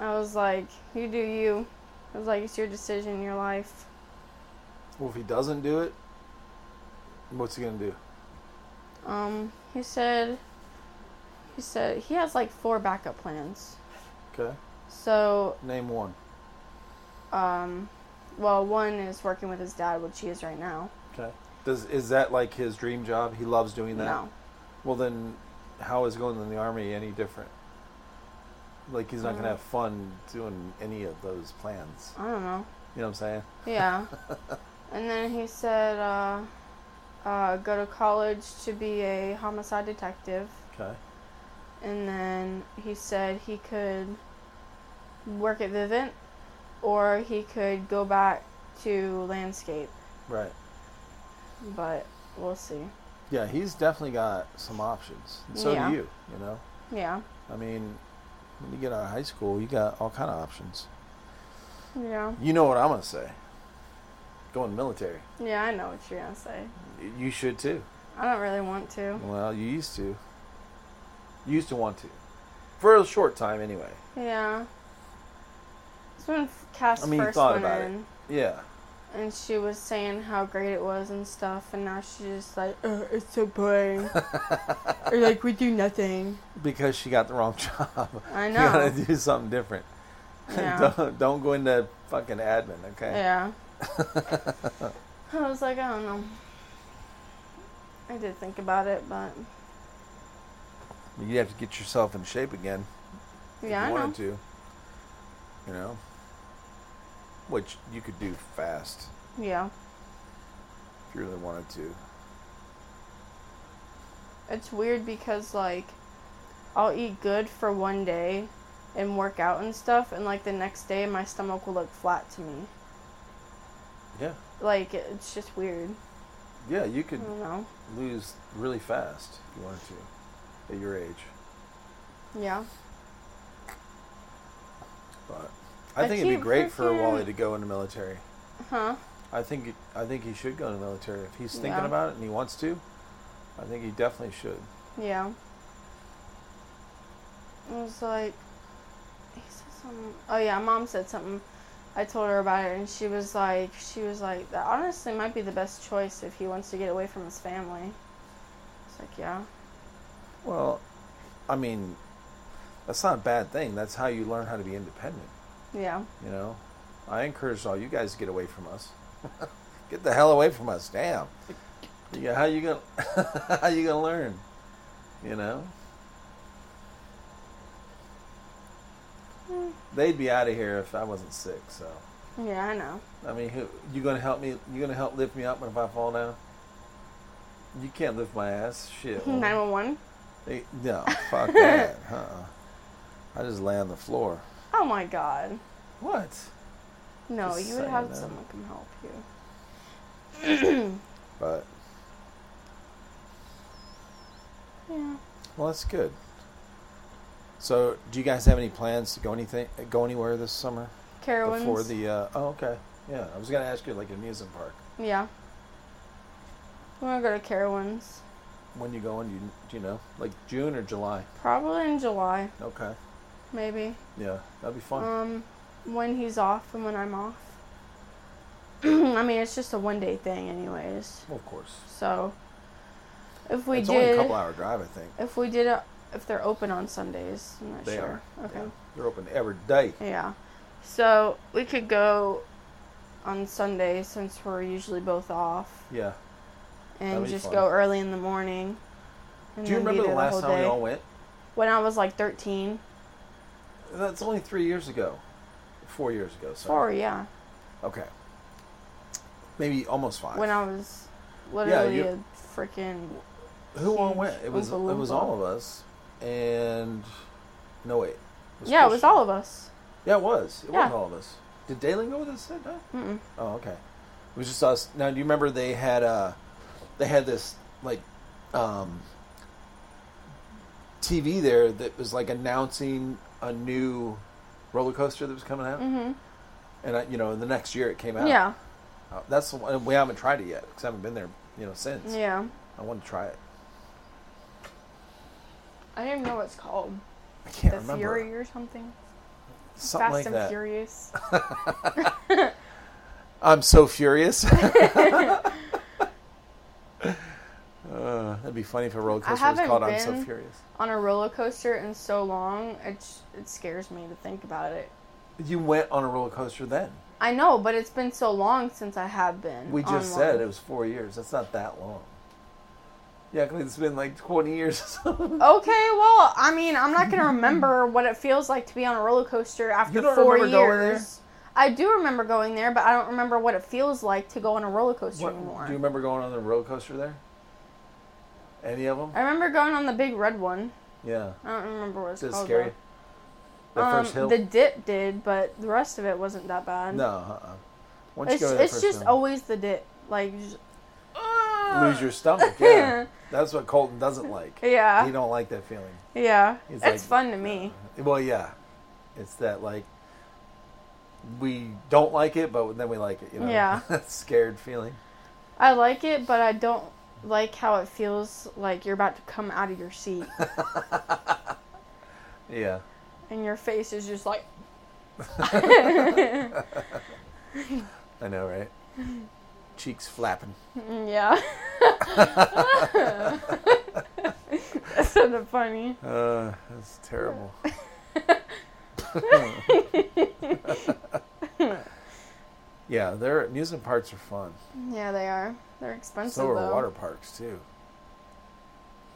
Speaker 2: I was like, you do you. I was like, it's your decision, your life.
Speaker 1: Well, if he doesn't do it, what's he gonna do?
Speaker 2: Um, he said, he said he has like four backup plans.
Speaker 1: Okay.
Speaker 2: So,
Speaker 1: Name one.
Speaker 2: um, well, one is working with his dad, which he is right now.
Speaker 1: Okay. Does is that like his dream job? He loves doing that.
Speaker 2: No.
Speaker 1: Well, then, how is going in the army any different? Like he's not gonna
Speaker 2: Mm.
Speaker 1: have fun doing any of those plans.
Speaker 2: I don't know.
Speaker 1: You know what I'm saying?
Speaker 2: Yeah. and then he said, uh, uh, go to college to be a homicide detective.
Speaker 1: Okay.
Speaker 2: And then he said he could work at Vivint or he could go back to landscape.
Speaker 1: Right.
Speaker 2: But we'll see.
Speaker 1: Yeah, he's definitely got some options. And so
Speaker 2: Yeah.
Speaker 1: do you. You know.
Speaker 2: Yeah.
Speaker 1: I mean, when you get out of high school, you got all kind of options.
Speaker 2: Yeah.
Speaker 1: You know what I'm gonna say. Going military.
Speaker 2: Yeah, I know what you're going to say.
Speaker 1: Y- You should too.
Speaker 2: I don't really want to.
Speaker 1: Well, you used to. You used to want to, for a short time anyway.
Speaker 2: Yeah. It's when Cass
Speaker 1: I mean, you
Speaker 2: first
Speaker 1: thought
Speaker 2: went
Speaker 1: about it.
Speaker 2: in.
Speaker 1: Yeah.
Speaker 2: and she was saying how great it was and stuff, and now she's just like, Ugh, it's so boring. or like, we do nothing.
Speaker 1: Because she got the wrong job.
Speaker 2: I
Speaker 1: you
Speaker 2: know.
Speaker 1: gotta do something different.
Speaker 2: Yeah.
Speaker 1: don't, don't go into fucking admin, okay?
Speaker 2: yeah. I was like, I don't know. I did think about it, but
Speaker 1: You have to get yourself in shape again.
Speaker 2: yeah,
Speaker 1: if you
Speaker 2: I know.
Speaker 1: wanted to. You know? Which you could do fast
Speaker 2: Yeah.
Speaker 1: if you really wanted to.
Speaker 2: It's weird because, like, I'll eat good for one day and work out and stuff, and like the next day, my stomach will look flat to me.
Speaker 1: Yeah.
Speaker 2: Like, it- it's just weird.
Speaker 1: Yeah, you
Speaker 2: I
Speaker 1: could
Speaker 2: don't know.
Speaker 1: lose really fast if you wanted to at your age.
Speaker 2: Yeah.
Speaker 1: But I
Speaker 2: I
Speaker 1: think it'd be
Speaker 2: keep
Speaker 1: great for
Speaker 2: freaking-
Speaker 1: Wally to go into military.
Speaker 2: Huh?
Speaker 1: I think it- I think he should go into the military if he's thinking
Speaker 2: Yeah.
Speaker 1: about it and he wants to. I think he definitely should.
Speaker 2: Yeah. It was like, he said something. Oh yeah, mom said something. I told her about it, and she was like, she was like, that honestly might be the best choice if he wants to get away from his family. It's like, yeah,
Speaker 1: Well, I mean, that's not a bad thing. That's how you learn how to be independent.
Speaker 2: yeah,
Speaker 1: You know, I encourage all you guys to get away from us. get the hell away from us, damn. Yeah, how you gonna how you gonna learn? You know, they'd be out of here if I wasn't sick. So,
Speaker 2: yeah, I know.
Speaker 1: I mean, who, you gonna help me? You gonna help lift me up if I fall down? You can't lift my ass, shit.
Speaker 2: Nine one one.
Speaker 1: Hey, no, fuck that. Uh-uh. I just lay on the floor.
Speaker 2: Oh my god.
Speaker 1: What?
Speaker 2: No,
Speaker 1: Just
Speaker 2: you would
Speaker 1: saying
Speaker 2: have
Speaker 1: that.
Speaker 2: someone come help you.
Speaker 1: But
Speaker 2: Yeah.
Speaker 1: well, that's good. So, do you guys have any plans to go anything, go anywhere this summer
Speaker 2: Carowinds.
Speaker 1: before the? Uh, oh, okay. Yeah, I was gonna ask you like an amusement park.
Speaker 2: yeah. We want to go to Carowinds.
Speaker 1: When you going? Do you, do you know? Like June or July?
Speaker 2: Probably in July,
Speaker 1: Okay.
Speaker 2: maybe.
Speaker 1: Yeah, that'd be fun.
Speaker 2: Um, when he's off and when I'm off. I mean, it's just a one day thing, anyways.
Speaker 1: well, of course.
Speaker 2: So, if we
Speaker 1: it's only a
Speaker 2: did,
Speaker 1: couple hour drive, I think.
Speaker 2: if we did, a, if they're open on Sundays, I'm not
Speaker 1: They
Speaker 2: sure.
Speaker 1: are.
Speaker 2: Okay.
Speaker 1: Yeah. They're open every day.
Speaker 2: Yeah. So we could go on Sunday since we're usually both off,
Speaker 1: Yeah. That'd
Speaker 2: and
Speaker 1: be
Speaker 2: just
Speaker 1: fun.
Speaker 2: go early in the morning. And
Speaker 1: Do you
Speaker 2: then be
Speaker 1: remember the
Speaker 2: there
Speaker 1: last
Speaker 2: whole
Speaker 1: time we
Speaker 2: day.
Speaker 1: all went?
Speaker 2: When I was like 13,
Speaker 1: That's only three years ago. Four years ago. Sorry.
Speaker 2: four, yeah.
Speaker 1: Okay. Maybe almost five.
Speaker 2: When I was literally
Speaker 1: you-
Speaker 2: a freaking
Speaker 1: Who all went? It was it
Speaker 2: Oompa
Speaker 1: was
Speaker 2: Loompa.
Speaker 1: all of us. And no wait.
Speaker 2: yeah, it was
Speaker 1: Christian.
Speaker 2: all of us.
Speaker 1: Yeah, it was. It
Speaker 2: Yeah.
Speaker 1: was all of us. Did Dalen go with us that night?
Speaker 2: Mm-mm.
Speaker 1: Oh, okay. It was just us. Now, do you remember they had uh they had this like um TV there that was like announcing a new roller coaster that was coming out,
Speaker 2: hmm
Speaker 1: and I, you know, the next year it came out.
Speaker 2: Yeah,
Speaker 1: Uh, that's the one we haven't tried it yet because I haven't been there, you know, since.
Speaker 2: yeah.
Speaker 1: I want to try it.
Speaker 2: I don't even know what it's called.
Speaker 1: I can't
Speaker 2: the
Speaker 1: remember.
Speaker 2: Fury or something.
Speaker 1: Something like
Speaker 2: Fast and
Speaker 1: that.
Speaker 2: Furious.
Speaker 1: I'm so furious. uh, that'd be funny if a roller
Speaker 2: I
Speaker 1: coaster was
Speaker 2: haven't
Speaker 1: called "I'm So
Speaker 2: been-
Speaker 1: Furious."
Speaker 2: On a roller coaster in so long, it it scares me to think about it.
Speaker 1: You went on a roller coaster then.
Speaker 2: I know, but it's been so long since I have been.
Speaker 1: We just
Speaker 2: on
Speaker 1: said it
Speaker 2: one.
Speaker 1: was four years. That's not that long. Yeah, 'cause it's been like 20 years or something.
Speaker 2: Okay, well, I mean, I'm not gonna remember what it feels like to be on a roller coaster after
Speaker 1: You don't
Speaker 2: four
Speaker 1: remember
Speaker 2: years.
Speaker 1: going there?
Speaker 2: I do remember going there, but I don't remember what it feels like to go on a roller coaster
Speaker 1: What-
Speaker 2: anymore.
Speaker 1: do you remember going on the roller coaster there? Any of them?
Speaker 2: I remember going on the big red one.
Speaker 1: Yeah.
Speaker 2: I don't remember what it's
Speaker 1: Is it
Speaker 2: called.
Speaker 1: scary?
Speaker 2: though.
Speaker 1: The
Speaker 2: um,
Speaker 1: first hill?
Speaker 2: The dip did, but the rest of it wasn't that bad.
Speaker 1: no, uh-uh. Once
Speaker 2: it's,
Speaker 1: you go to the
Speaker 2: it's
Speaker 1: first
Speaker 2: just
Speaker 1: hill,
Speaker 2: always the dip. Like, just,
Speaker 1: lose your stomach. Yeah. That's what Colton doesn't like.
Speaker 2: yeah,
Speaker 1: He don't like that feeling.
Speaker 2: yeah.
Speaker 1: He's
Speaker 2: It's
Speaker 1: like- uh,
Speaker 2: fun to me.
Speaker 1: Well, yeah, it's that like we don't like it, but then we like it. You know,
Speaker 2: Yeah.
Speaker 1: That scared feeling.
Speaker 2: I like it, but I don't like how it feels like you're about to come out of your seat
Speaker 1: Yeah,
Speaker 2: and your face is just like.
Speaker 1: I know, right? Cheeks flapping.
Speaker 2: Yeah. That's sort of funny.
Speaker 1: Uh, that's terrible. Hmm. yeah, their amusement parks are fun.
Speaker 2: Yeah, they are. They're expensive
Speaker 1: So are
Speaker 2: though.
Speaker 1: water parks too.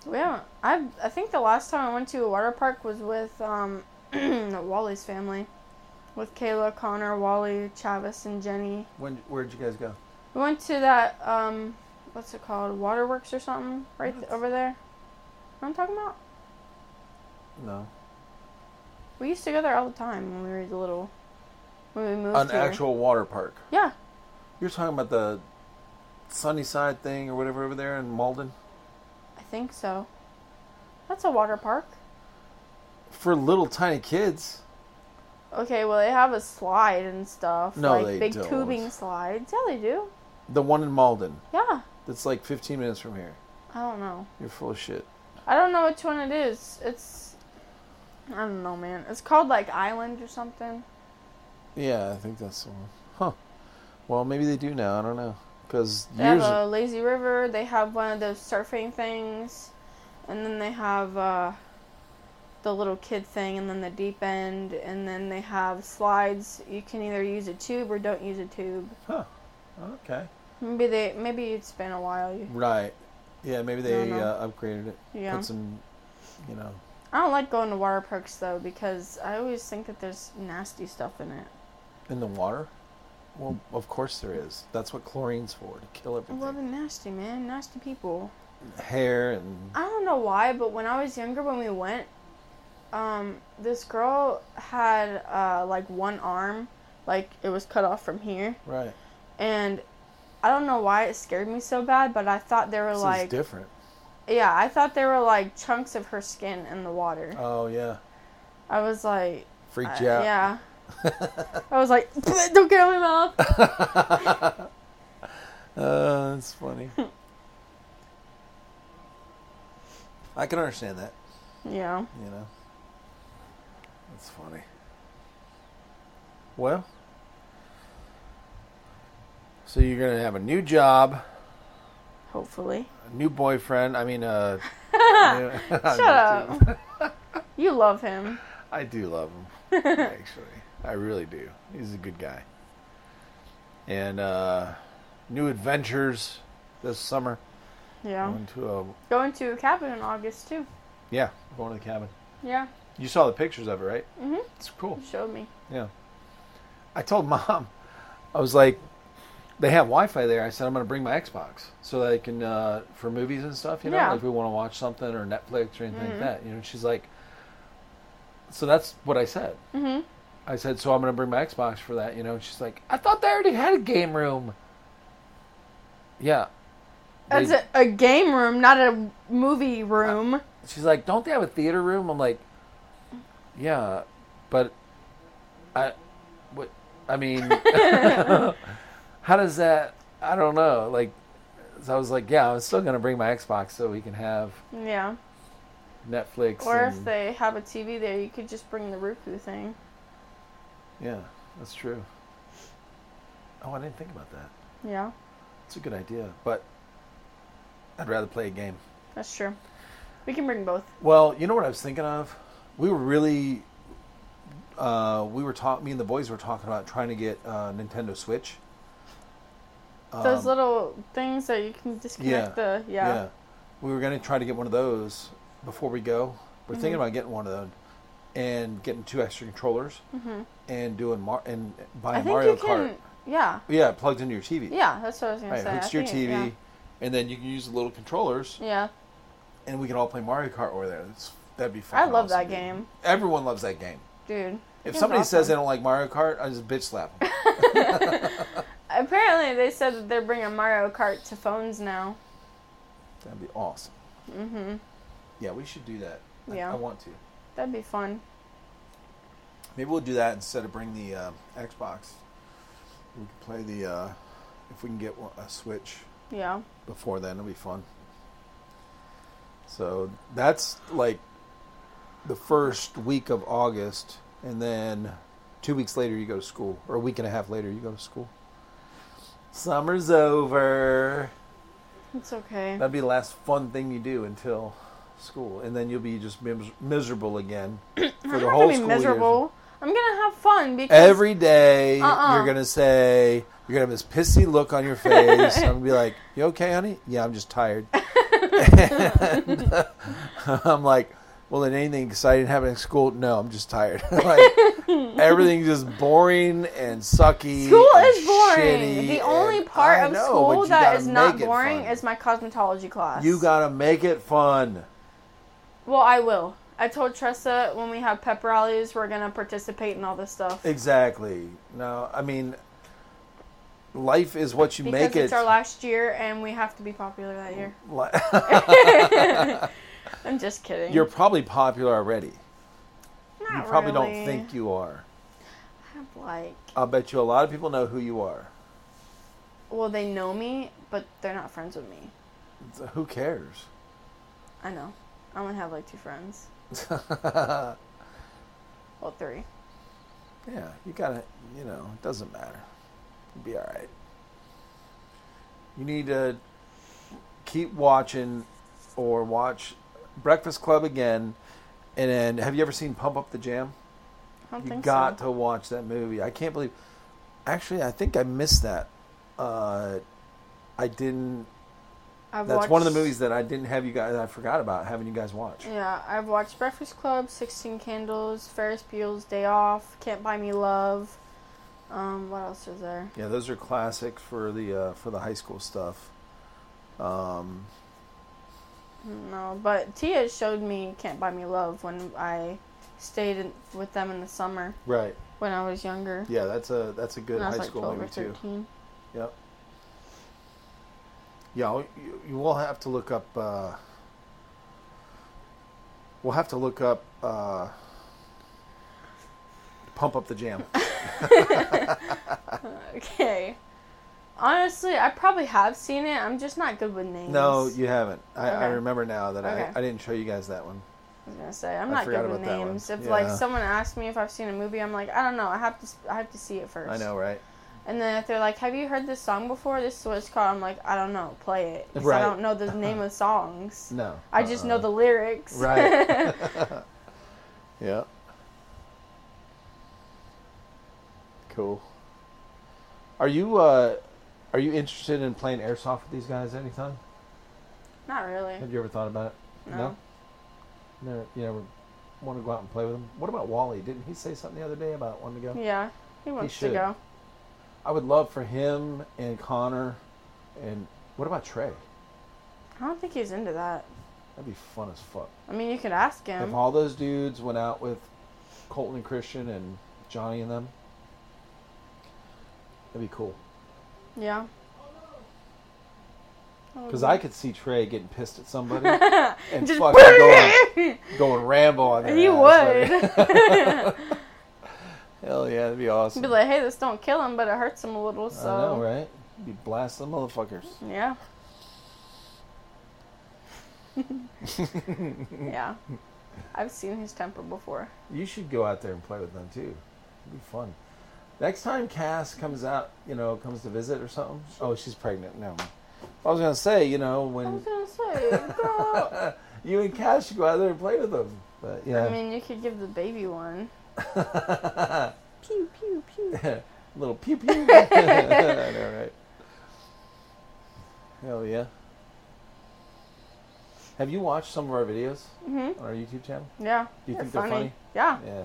Speaker 2: We haven't. I I think the last time I went to a water park was with um, Wally's family, with Kayla, Connor, Wally, Chavis, and Jenny.
Speaker 1: When where'd you guys go?
Speaker 2: We went to that um, what's it called? Waterworks or something, right th-
Speaker 1: What?
Speaker 2: over there. You know what I'm talking about.
Speaker 1: No.
Speaker 2: We used to go there all the time when we were little. When we moved
Speaker 1: An
Speaker 2: here.
Speaker 1: actual water park.
Speaker 2: Yeah.
Speaker 1: You're talking about the Sunnyside thing or whatever over there in Malden?
Speaker 2: I think so. That's a water park.
Speaker 1: For little tiny kids.
Speaker 2: Okay, well they have a slide and stuff.
Speaker 1: No,
Speaker 2: like
Speaker 1: they
Speaker 2: big
Speaker 1: don't.
Speaker 2: tubing slides. Yeah, they do.
Speaker 1: The one in Malden.
Speaker 2: Yeah.
Speaker 1: That's like 15 minutes from here.
Speaker 2: I don't know.
Speaker 1: You're full of shit.
Speaker 2: I don't know which one it is. It's I don't know, man. It's called like Island or something.
Speaker 1: Yeah, I think that's the one. Huh. Well, maybe they do now. I don't know. Because
Speaker 2: They
Speaker 1: years.
Speaker 2: have a lazy river. They have one of those surfing things, and then they have uh, the little kid thing, and then the deep end, and then they have slides. You can either use a tube or don't use a tube.
Speaker 1: Huh. Okay.
Speaker 2: Maybe they maybe it's been a while. You,
Speaker 1: Right. Yeah, maybe they
Speaker 2: No, no.
Speaker 1: Uh, upgraded it.
Speaker 2: yeah.
Speaker 1: Put some, you know.
Speaker 2: I don't like going to water parks though because I always think that there's nasty stuff in it.
Speaker 1: In the water? Well, of course there is. That's what chlorine's for, to kill
Speaker 2: I
Speaker 1: everything.
Speaker 2: love nasty man, nasty people.
Speaker 1: Hair and.
Speaker 2: I don't know why, but when I was younger, when we went, um, this girl had uh, like one arm, like it was cut off from here,
Speaker 1: Right.
Speaker 2: and I don't know why it scared me so bad, but I thought there were
Speaker 1: This is
Speaker 2: like
Speaker 1: different.
Speaker 2: yeah, I thought there were like chunks of her skin in the water.
Speaker 1: Oh, yeah.
Speaker 2: I was like, I-
Speaker 1: Freaked you out.
Speaker 2: Uh, yeah, I was like, don't get out of my mouth.
Speaker 1: uh, Oh, that's funny. I can understand that,
Speaker 2: Yeah,
Speaker 1: you know. That's funny. Well, so you're going to have a new job,
Speaker 2: hopefully.
Speaker 1: a new boyfriend. I mean, uh, Shut
Speaker 2: Shut up. you love him.
Speaker 1: I do love him, actually. I really do. He's a good guy. And uh, new adventures this summer.
Speaker 2: Yeah,
Speaker 1: Going to a
Speaker 2: going to a cabin in August too.
Speaker 1: yeah, going to the cabin.
Speaker 2: Yeah.
Speaker 1: You saw the pictures of it, right?
Speaker 2: Mhm.
Speaker 1: It's cool.
Speaker 2: You showed me.
Speaker 1: Yeah. I told mom, I was like, they have Wi-Fi there. I said I'm going to bring my Xbox so that I can uh, for movies and stuff. You know,
Speaker 2: Yeah.
Speaker 1: like if we want to watch something or Netflix or anything
Speaker 2: Mhm.
Speaker 1: like that. You know, and she's like, so that's what I said.
Speaker 2: hmm
Speaker 1: I said, so I'm going to bring my Xbox for that, you know? And she's like, I thought they already had a game room. Yeah. They-
Speaker 2: That's a, a game room, not a movie room.
Speaker 1: She's like, don't they have a theater room? I'm like, yeah, but I, what, I mean, how does that, I don't know. Like, so I was like, yeah, I'm still going to bring my Xbox so we can have
Speaker 2: yeah.
Speaker 1: Netflix.
Speaker 2: Or if
Speaker 1: and-
Speaker 2: they have a TV there, you could just bring the Roku thing.
Speaker 1: Yeah, that's true. Oh, I didn't think about that.
Speaker 2: Yeah,
Speaker 1: It's a good idea, but I'd rather play a game.
Speaker 2: that's true. We can bring both.
Speaker 1: Well, you know what I was thinking of? We were really, uh, we were talking. Me and the boys were talking about trying to get uh, Nintendo Switch.
Speaker 2: Those
Speaker 1: Um,
Speaker 2: little things that you can disconnect the yeah.
Speaker 1: we were gonna try to get one of those before we go. We're thinking
Speaker 2: Mhm.
Speaker 1: about getting one of those and getting two extra controllers
Speaker 2: hmm
Speaker 1: and doing Mar- and
Speaker 2: I
Speaker 1: buying
Speaker 2: think
Speaker 1: Mario
Speaker 2: you can.
Speaker 1: Kart.
Speaker 2: Yeah,
Speaker 1: Yeah, it plugs into your TV.
Speaker 2: yeah. That's what I was gonna
Speaker 1: right,
Speaker 2: say.
Speaker 1: hooks
Speaker 2: I
Speaker 1: to your
Speaker 2: think-
Speaker 1: TV, and then you can use the little controllers,
Speaker 2: Yeah. yeah.
Speaker 1: and we can all play Mario Kart over there. That's, that'd be fun.
Speaker 2: I love that game,
Speaker 1: Everyone loves that game.
Speaker 2: dude.
Speaker 1: If
Speaker 2: That's
Speaker 1: somebody says they
Speaker 2: awesome.
Speaker 1: don't like Mario Kart, I just bitch slap them.
Speaker 2: Apparently, they said that they're bringing Mario Kart to phones now.
Speaker 1: That'd be awesome.
Speaker 2: hmm
Speaker 1: Yeah, we should do that. I-
Speaker 2: Yeah.
Speaker 1: I, want to.
Speaker 2: That'd be fun.
Speaker 1: Maybe we'll do that instead of bring the uh, Xbox. We can play the uh, if we can get one- a Switch
Speaker 2: Yeah.
Speaker 1: before then. It'll be fun. So that's like the first week of August, and then two weeks later you go to school, or a week and a half later you go to school. Summer's over.
Speaker 2: It's okay.
Speaker 1: That'd be the last fun thing you do until school, and then you'll be just mis- miserable again for
Speaker 2: I'm
Speaker 1: the
Speaker 2: not
Speaker 1: whole
Speaker 2: gonna be
Speaker 1: school
Speaker 2: miserable.
Speaker 1: year.
Speaker 2: I'm gonna have fun because
Speaker 1: Every day
Speaker 2: Uh-uh.
Speaker 1: you're gonna say you're gonna have this pissy look on your face. I'm gonna be like, "You okay, honey? Yeah, I'm just tired." and, uh, I'm like, "Well, did anything exciting happen at school? No, I'm just tired. like everything's just boring and sucky.
Speaker 2: school
Speaker 1: and
Speaker 2: is boring.
Speaker 1: shitty
Speaker 2: the only
Speaker 1: and-
Speaker 2: part
Speaker 1: I
Speaker 2: of
Speaker 1: know, but
Speaker 2: school
Speaker 1: you
Speaker 2: that
Speaker 1: gotta
Speaker 2: is not
Speaker 1: make it
Speaker 2: boring
Speaker 1: fun.
Speaker 2: is my cosmetology class.
Speaker 1: You gotta make it fun.
Speaker 2: Well, I will. I told Tressa when we have pep rallies, we're gonna participate in all this stuff.
Speaker 1: Exactly. No, I mean, life is what you
Speaker 2: because
Speaker 1: make
Speaker 2: it's
Speaker 1: it.
Speaker 2: our last year, and we have to be popular that year.
Speaker 1: Li-
Speaker 2: I'm just kidding.
Speaker 1: You're probably popular already.
Speaker 2: Not
Speaker 1: you probably
Speaker 2: really.
Speaker 1: don't think you are.
Speaker 2: I'm like,
Speaker 1: I'll bet you a lot of people know who you are.
Speaker 2: well, they know me, but they're not friends with me.
Speaker 1: So Who cares?
Speaker 2: I know. I only have like two friends.
Speaker 1: yeah,
Speaker 2: Well, three.
Speaker 1: you gotta, you know, it doesn't matter. You'll be all right. You need to keep watching or watch Breakfast Club again. And then, have you ever seen Pump Up the Jam?
Speaker 2: I don't
Speaker 1: You
Speaker 2: think
Speaker 1: got
Speaker 2: so.
Speaker 1: to watch that movie. I can't believe. Actually, I think I missed that. Uh, I didn't.
Speaker 2: I've
Speaker 1: That's one of the
Speaker 2: watched-
Speaker 1: movies that I didn't have you guys. I forgot about having you guys watch.
Speaker 2: Yeah, I've watched Breakfast Club, Sixteen Candles, Ferris Bueller's Day Off, Can't Buy Me Love. Um, what else is there?
Speaker 1: Yeah, those are classics for the uh, for the high school stuff. Um,
Speaker 2: No, but Tia showed me Can't Buy Me Love when I stayed in, with them in the summer
Speaker 1: right.
Speaker 2: when I was younger.
Speaker 1: Yeah, that's a that's a good
Speaker 2: when I was
Speaker 1: high
Speaker 2: like
Speaker 1: school
Speaker 2: 12
Speaker 1: movie
Speaker 2: or
Speaker 1: too.
Speaker 2: 13.
Speaker 1: Yep. Yeah, I'll- you, you will have to look up. Uh, we'll have to look up. Uh, Pump up the jam.
Speaker 2: Okay. Honestly, I probably have seen it. I'm just not good with names.
Speaker 1: No, you haven't. I, I
Speaker 2: Okay.
Speaker 1: remember now that
Speaker 2: Okay.
Speaker 1: I, I didn't show you guys that one.
Speaker 2: I was gonna say I'm
Speaker 1: I
Speaker 2: not
Speaker 1: forgot
Speaker 2: good with
Speaker 1: about that one.
Speaker 2: names. If
Speaker 1: Yeah.
Speaker 2: like someone asks me if I've seen a movie, I'm like, I don't know. I have to. s- I have to see it first.
Speaker 1: I know, right?
Speaker 2: And then if they're like, Have you heard this song before? This is what it's called. I'm like, I don't know. Play it. 'Cause
Speaker 1: Right. Uh-huh.
Speaker 2: I don't know the name of songs.
Speaker 1: No. Uh-uh.
Speaker 2: I just know the lyrics.
Speaker 1: Right. yeah. Cool. Are you uh, are you interested in playing airsoft with these guys anytime?
Speaker 2: not really.
Speaker 1: Have you ever thought about it?
Speaker 2: No.
Speaker 1: Never, you never want to go out and play with them? What about Wally? Didn't he say something the other day about wanting to go?
Speaker 2: Yeah. He wants
Speaker 1: should.
Speaker 2: to go.
Speaker 1: I would love for him and Connor, and what about Trey?
Speaker 2: I don't think he's into that.
Speaker 1: That'd be fun as fuck.
Speaker 2: I mean, you could ask
Speaker 1: If
Speaker 2: him.
Speaker 1: all those dudes went out with Colton and Christian and Johnny and them, that'd be cool.
Speaker 2: yeah.
Speaker 1: Because I could see Trey getting pissed at somebody and
Speaker 2: Oh, Just
Speaker 1: fucking going, going ramble on their
Speaker 2: He
Speaker 1: ass, like-
Speaker 2: would.
Speaker 1: Hell yeah, that'd be awesome.
Speaker 2: Be like, hey, this don't kill him, but it hurts him a little. So
Speaker 1: I know, right? Be blasting the motherfuckers.
Speaker 2: yeah, yeah. I've seen his temper before.
Speaker 1: You should go out there and play with them too. It'd be fun. Next time Cass comes out, you know, comes to visit or something. Oh, she's pregnant. No. I was gonna say, you know,
Speaker 2: I
Speaker 1: when
Speaker 2: was gonna say, girl.
Speaker 1: you and Cass should go out there and play with them. But yeah.
Speaker 2: I mean, you could give the baby one. Pew pew pew.
Speaker 1: little pew pew. I know, right? Hell yeah. Have you watched some of our videos
Speaker 2: hmm
Speaker 1: on our YouTube channel?
Speaker 2: Yeah.
Speaker 1: Do you
Speaker 2: they're
Speaker 1: think they're funny?
Speaker 2: Yeah,
Speaker 1: Yeah,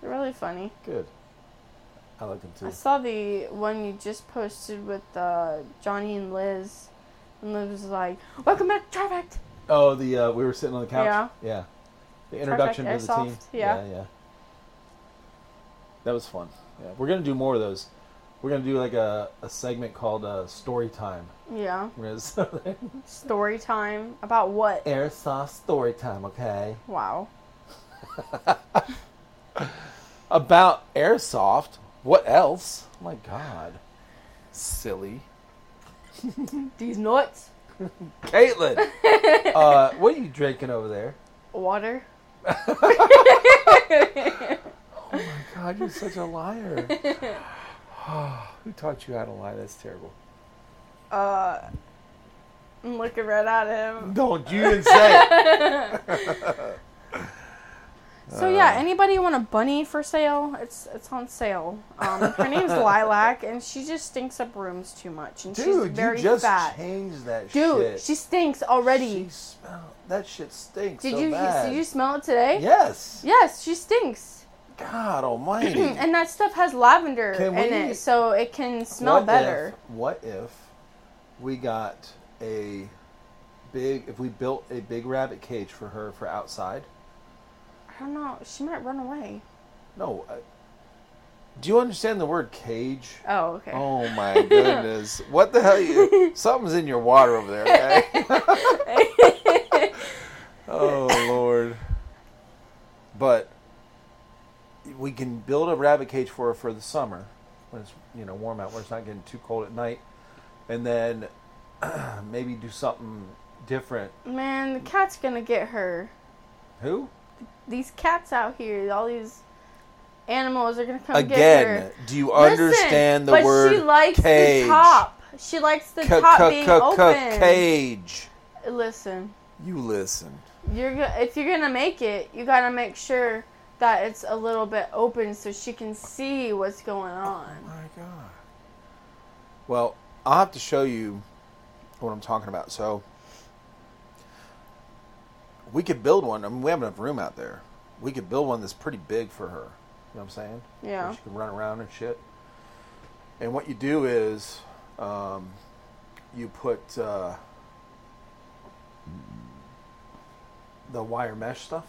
Speaker 2: they're really funny.
Speaker 1: good. I like them too.
Speaker 2: I saw the one you just posted with uh, Johnny and Liz, and Liz was like, "Welcome back, to Trifect."
Speaker 1: Oh, the uh, we were sitting on the couch.
Speaker 2: Yeah.
Speaker 1: yeah. The introduction to the team.
Speaker 2: Airsoft, yeah.
Speaker 1: yeah, yeah. That was fun. Yeah, we're gonna do more of those. We're gonna do like a, a segment called uh, Story Time.
Speaker 2: Yeah.
Speaker 1: We're gonna start there.
Speaker 2: Story time about what?
Speaker 1: Airsoft Story Time. Okay.
Speaker 2: Wow.
Speaker 1: about airsoft. What else? Oh my god. Silly.
Speaker 2: These nuts.
Speaker 1: Caitlin, uh, what are you drinking over there?
Speaker 2: Water.
Speaker 1: Oh My god, you're such a liar. Who taught you how to lie? That's terrible.
Speaker 2: Uh, I'm looking right at him.
Speaker 1: Don't you even say it.
Speaker 2: So yeah, anybody want a bunny for sale? It's it's on sale. Um, her name's Lilac, and she just stinks up rooms too much, and she's
Speaker 1: Dude,
Speaker 2: very
Speaker 1: you just
Speaker 2: fat.
Speaker 1: changed that
Speaker 2: Dude,
Speaker 1: shit.
Speaker 2: she stinks already.
Speaker 1: She smell- that shit stinks
Speaker 2: did
Speaker 1: so
Speaker 2: you
Speaker 1: bad.
Speaker 2: did you smell it today?
Speaker 1: Yes.
Speaker 2: Yes, she stinks,
Speaker 1: God almighty.
Speaker 2: and that stuff has lavender
Speaker 1: Can
Speaker 2: in
Speaker 1: we-
Speaker 2: it, so it can smell
Speaker 1: What
Speaker 2: better.
Speaker 1: If, what if we got a big, if we built a big rabbit cage for her for outside
Speaker 2: I don't know. She might run away.
Speaker 1: No. I, do you understand the word cage?
Speaker 2: Oh, okay.
Speaker 1: Oh my goodness! what the hell? You something's in your water over there. Okay? oh lord! But we can build a rabbit cage for her for the summer when it's you know warm out, when it's not getting too cold at night, and then maybe do something different.
Speaker 2: Man, the cat's gonna get her.
Speaker 1: Who?
Speaker 2: These cats out here, all these animals are gonna come get her.
Speaker 1: Again, do you
Speaker 2: Listen,
Speaker 1: understand the
Speaker 2: but
Speaker 1: word
Speaker 2: she likes
Speaker 1: cage?
Speaker 2: the top. She likes the
Speaker 1: Ca-
Speaker 2: top
Speaker 1: ca-
Speaker 2: being
Speaker 1: ca- ca-
Speaker 2: open.
Speaker 1: Cage.
Speaker 2: Listen,
Speaker 1: You listen.
Speaker 2: you're go- if you're gonna make it, you gotta make sure that it's a little bit open so she can see what's going on.
Speaker 1: My God. Well, I'll have to show you what I'm talking about. So we could build one. I mean, we have enough room out there. We could build one that's pretty big for her. You know what I'm saying?
Speaker 2: Yeah.
Speaker 1: Where she can run around and shit. And what you do is, um, you put uh, the wire mesh stuff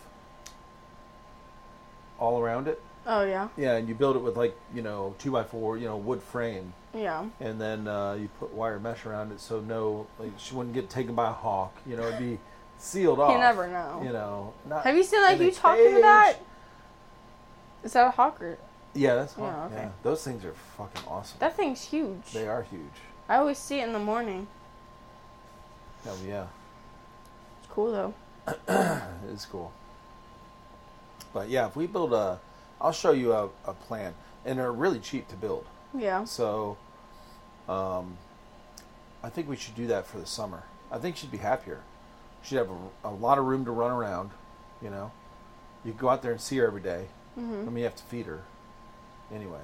Speaker 1: all around it.
Speaker 2: Oh yeah,
Speaker 1: Yeah, and you build it with like you know two by four, you know wood frame,
Speaker 2: yeah.
Speaker 1: and then uh, you put wire mesh around it so no, like she wouldn't get taken by a hawk. You know, it'd be sealed off.
Speaker 2: never know.
Speaker 1: You know. Not
Speaker 2: Have you seen like
Speaker 1: in a
Speaker 2: you talking
Speaker 1: cage.
Speaker 2: about? Is that a hawker?
Speaker 1: Yeah, that's hawk.
Speaker 2: Yeah, Oh, okay.
Speaker 1: yeah. Those things are fucking awesome.
Speaker 2: That thing's huge.
Speaker 1: they are huge.
Speaker 2: I always see it in the morning.
Speaker 1: Oh yeah,
Speaker 2: It's cool though.
Speaker 1: it is cool. But yeah, if we build a, I'll show you a, a plan, and they're really cheap to build.
Speaker 2: Yeah.
Speaker 1: So, um, I think we should do that for the summer. I think she'd be happier. She'd have a, a lot of room to run around. You know, you could go out there and see her every day. I
Speaker 2: hmm
Speaker 1: mean, you have to feed her anyway,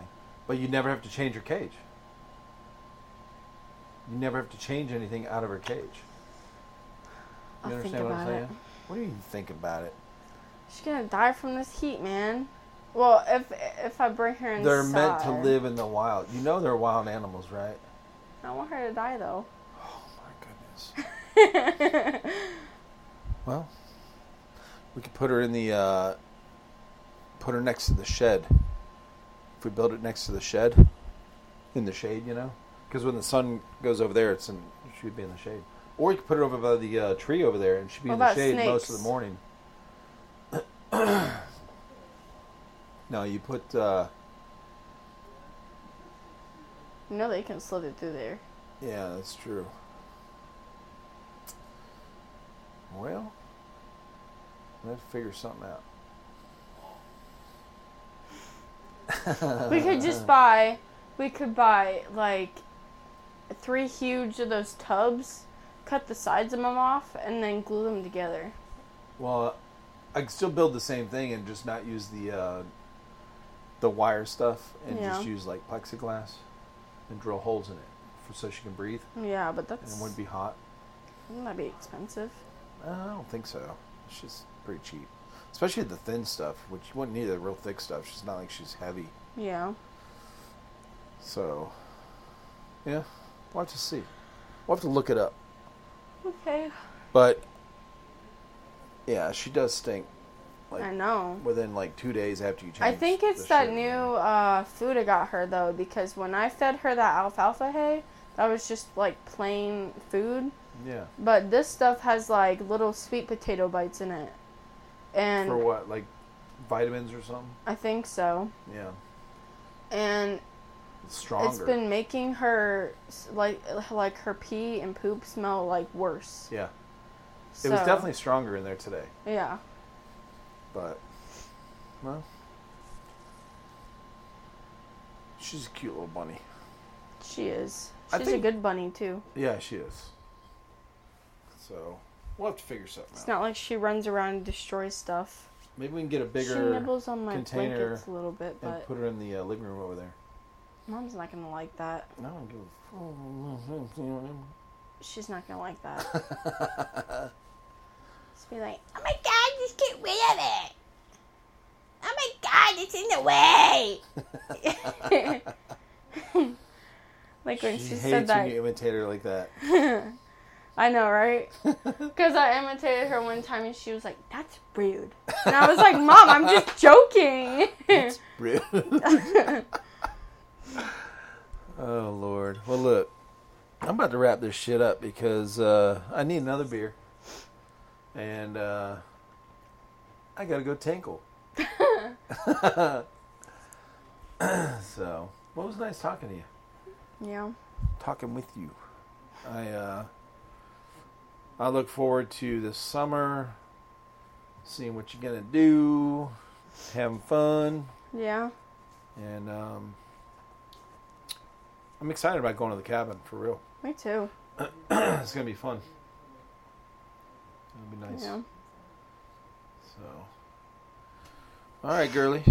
Speaker 1: but you never have to change her cage. You never have to change anything out of her cage. You
Speaker 2: I'll think
Speaker 1: understand what I'm
Speaker 2: about
Speaker 1: saying?
Speaker 2: it.
Speaker 1: What do you think about it?
Speaker 2: She's gonna die from this heat, man. Well, if if I bring her inside,
Speaker 1: They're meant to live in the wild. You know they're wild animals, right?
Speaker 2: I don't want her to die though.
Speaker 1: Oh my goodness. Well, we could put her in the uh, put her next to the shed. If we build it next to the shed, in the shade, you know, because when the sun goes over there, it's in she'd be in the shade. Or we could put her over by the uh, tree over there, and she'd be
Speaker 2: What
Speaker 1: in the
Speaker 2: about
Speaker 1: shade most of
Speaker 2: snakes?
Speaker 1: the morning. no, you put uh,
Speaker 2: you know they can slither through there.
Speaker 1: yeah, that's true. Well, let's figure something out.
Speaker 2: we could just buy. We could buy like three huge of those tubs, cut the sides of them off, and then glue them together.
Speaker 1: Well, I can still build the same thing and just not use the uh, the wire stuff and just
Speaker 2: Yeah.
Speaker 1: use like plexiglass and drill holes in it for, so she can breathe
Speaker 2: Yeah, but
Speaker 1: and
Speaker 2: that's
Speaker 1: it wouldn't be hot.
Speaker 2: wouldn't that be expensive?
Speaker 1: Uh, I don't think so. It's just pretty cheap, especially the thin stuff, which you wouldn't need the real thick stuff. She's not like she's heavy,
Speaker 2: Yeah.
Speaker 1: so yeah, we'll have to see. We'll have to look it up,
Speaker 2: Okay.
Speaker 1: but yeah, she does stink. Like
Speaker 2: I know.
Speaker 1: within like two days after you change.
Speaker 2: I think it's
Speaker 1: the
Speaker 2: that
Speaker 1: shit.
Speaker 2: new uh, food I got her though, because when I fed her that alfalfa hay, that was just like plain food.
Speaker 1: Yeah.
Speaker 2: But this stuff has like little sweet potato bites in it, and
Speaker 1: For what? Like vitamins or something?
Speaker 2: I think so.
Speaker 1: Yeah.
Speaker 2: And
Speaker 1: It's stronger.
Speaker 2: it's been making her s- like like her pee and poop smell like worse.
Speaker 1: yeah.
Speaker 2: So,
Speaker 1: It was definitely stronger in there today.
Speaker 2: yeah.
Speaker 1: But well. She's a cute little bunny.
Speaker 2: She is.
Speaker 1: I
Speaker 2: She's
Speaker 1: think-
Speaker 2: a good bunny too.
Speaker 1: Yeah, she is. So we'll have to figure something
Speaker 2: It's
Speaker 1: out.
Speaker 2: not like she runs around and destroys stuff.
Speaker 1: Maybe we can get a
Speaker 2: she
Speaker 1: bigger
Speaker 2: nibbles on my
Speaker 1: container
Speaker 2: blankets a little bit,
Speaker 1: and
Speaker 2: but
Speaker 1: put her in the uh, living room over there.
Speaker 2: mom's not gonna like that.
Speaker 1: I don't give a
Speaker 2: She's not gonna like that.
Speaker 1: fuck.
Speaker 2: Just be like,
Speaker 3: Oh my god, just get rid of it. Oh my god, it's in the way.
Speaker 2: like when she,
Speaker 1: she hates
Speaker 2: said that.
Speaker 1: when you imitate her like that.
Speaker 2: I know, right? Because I imitated her one time and she was like, that's rude. And I was like, Mom, I'm just joking.
Speaker 1: It's real. oh Lord. Well, look, I'm about to wrap this shit up because uh, I need another beer, and uh, I gotta go tinkle. so, well, it was nice talking to you,
Speaker 2: yeah.
Speaker 1: talking with you. I uh, I look forward to this summer, seeing what you're gonna do, having fun.
Speaker 2: Yeah.
Speaker 1: And um, I'm excited about going to the cabin for real.
Speaker 2: Me too.
Speaker 1: it's gonna be fun. It'll be nice.
Speaker 2: Yeah.
Speaker 1: So, all right, girly.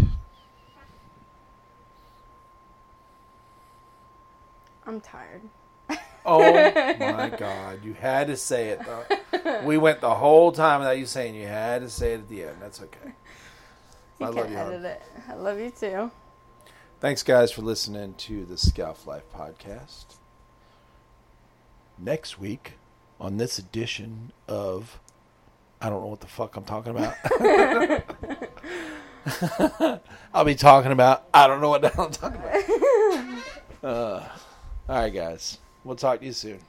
Speaker 2: I'm tired.
Speaker 1: Oh my God, you had to say it. though. We went the whole time without you saying you had to say it at the end. That's okay.
Speaker 2: You
Speaker 1: I
Speaker 2: can
Speaker 1: love you, hon.
Speaker 2: edit it. I love you too.
Speaker 1: Thanks, guys, for listening to the Scout Life podcast. Next week, on this edition of, I don't know what the fuck I'm talking about. I'll be talking about, I don't know what the hell I'm talking about. Uh, all right, guys. We'll talk to you soon.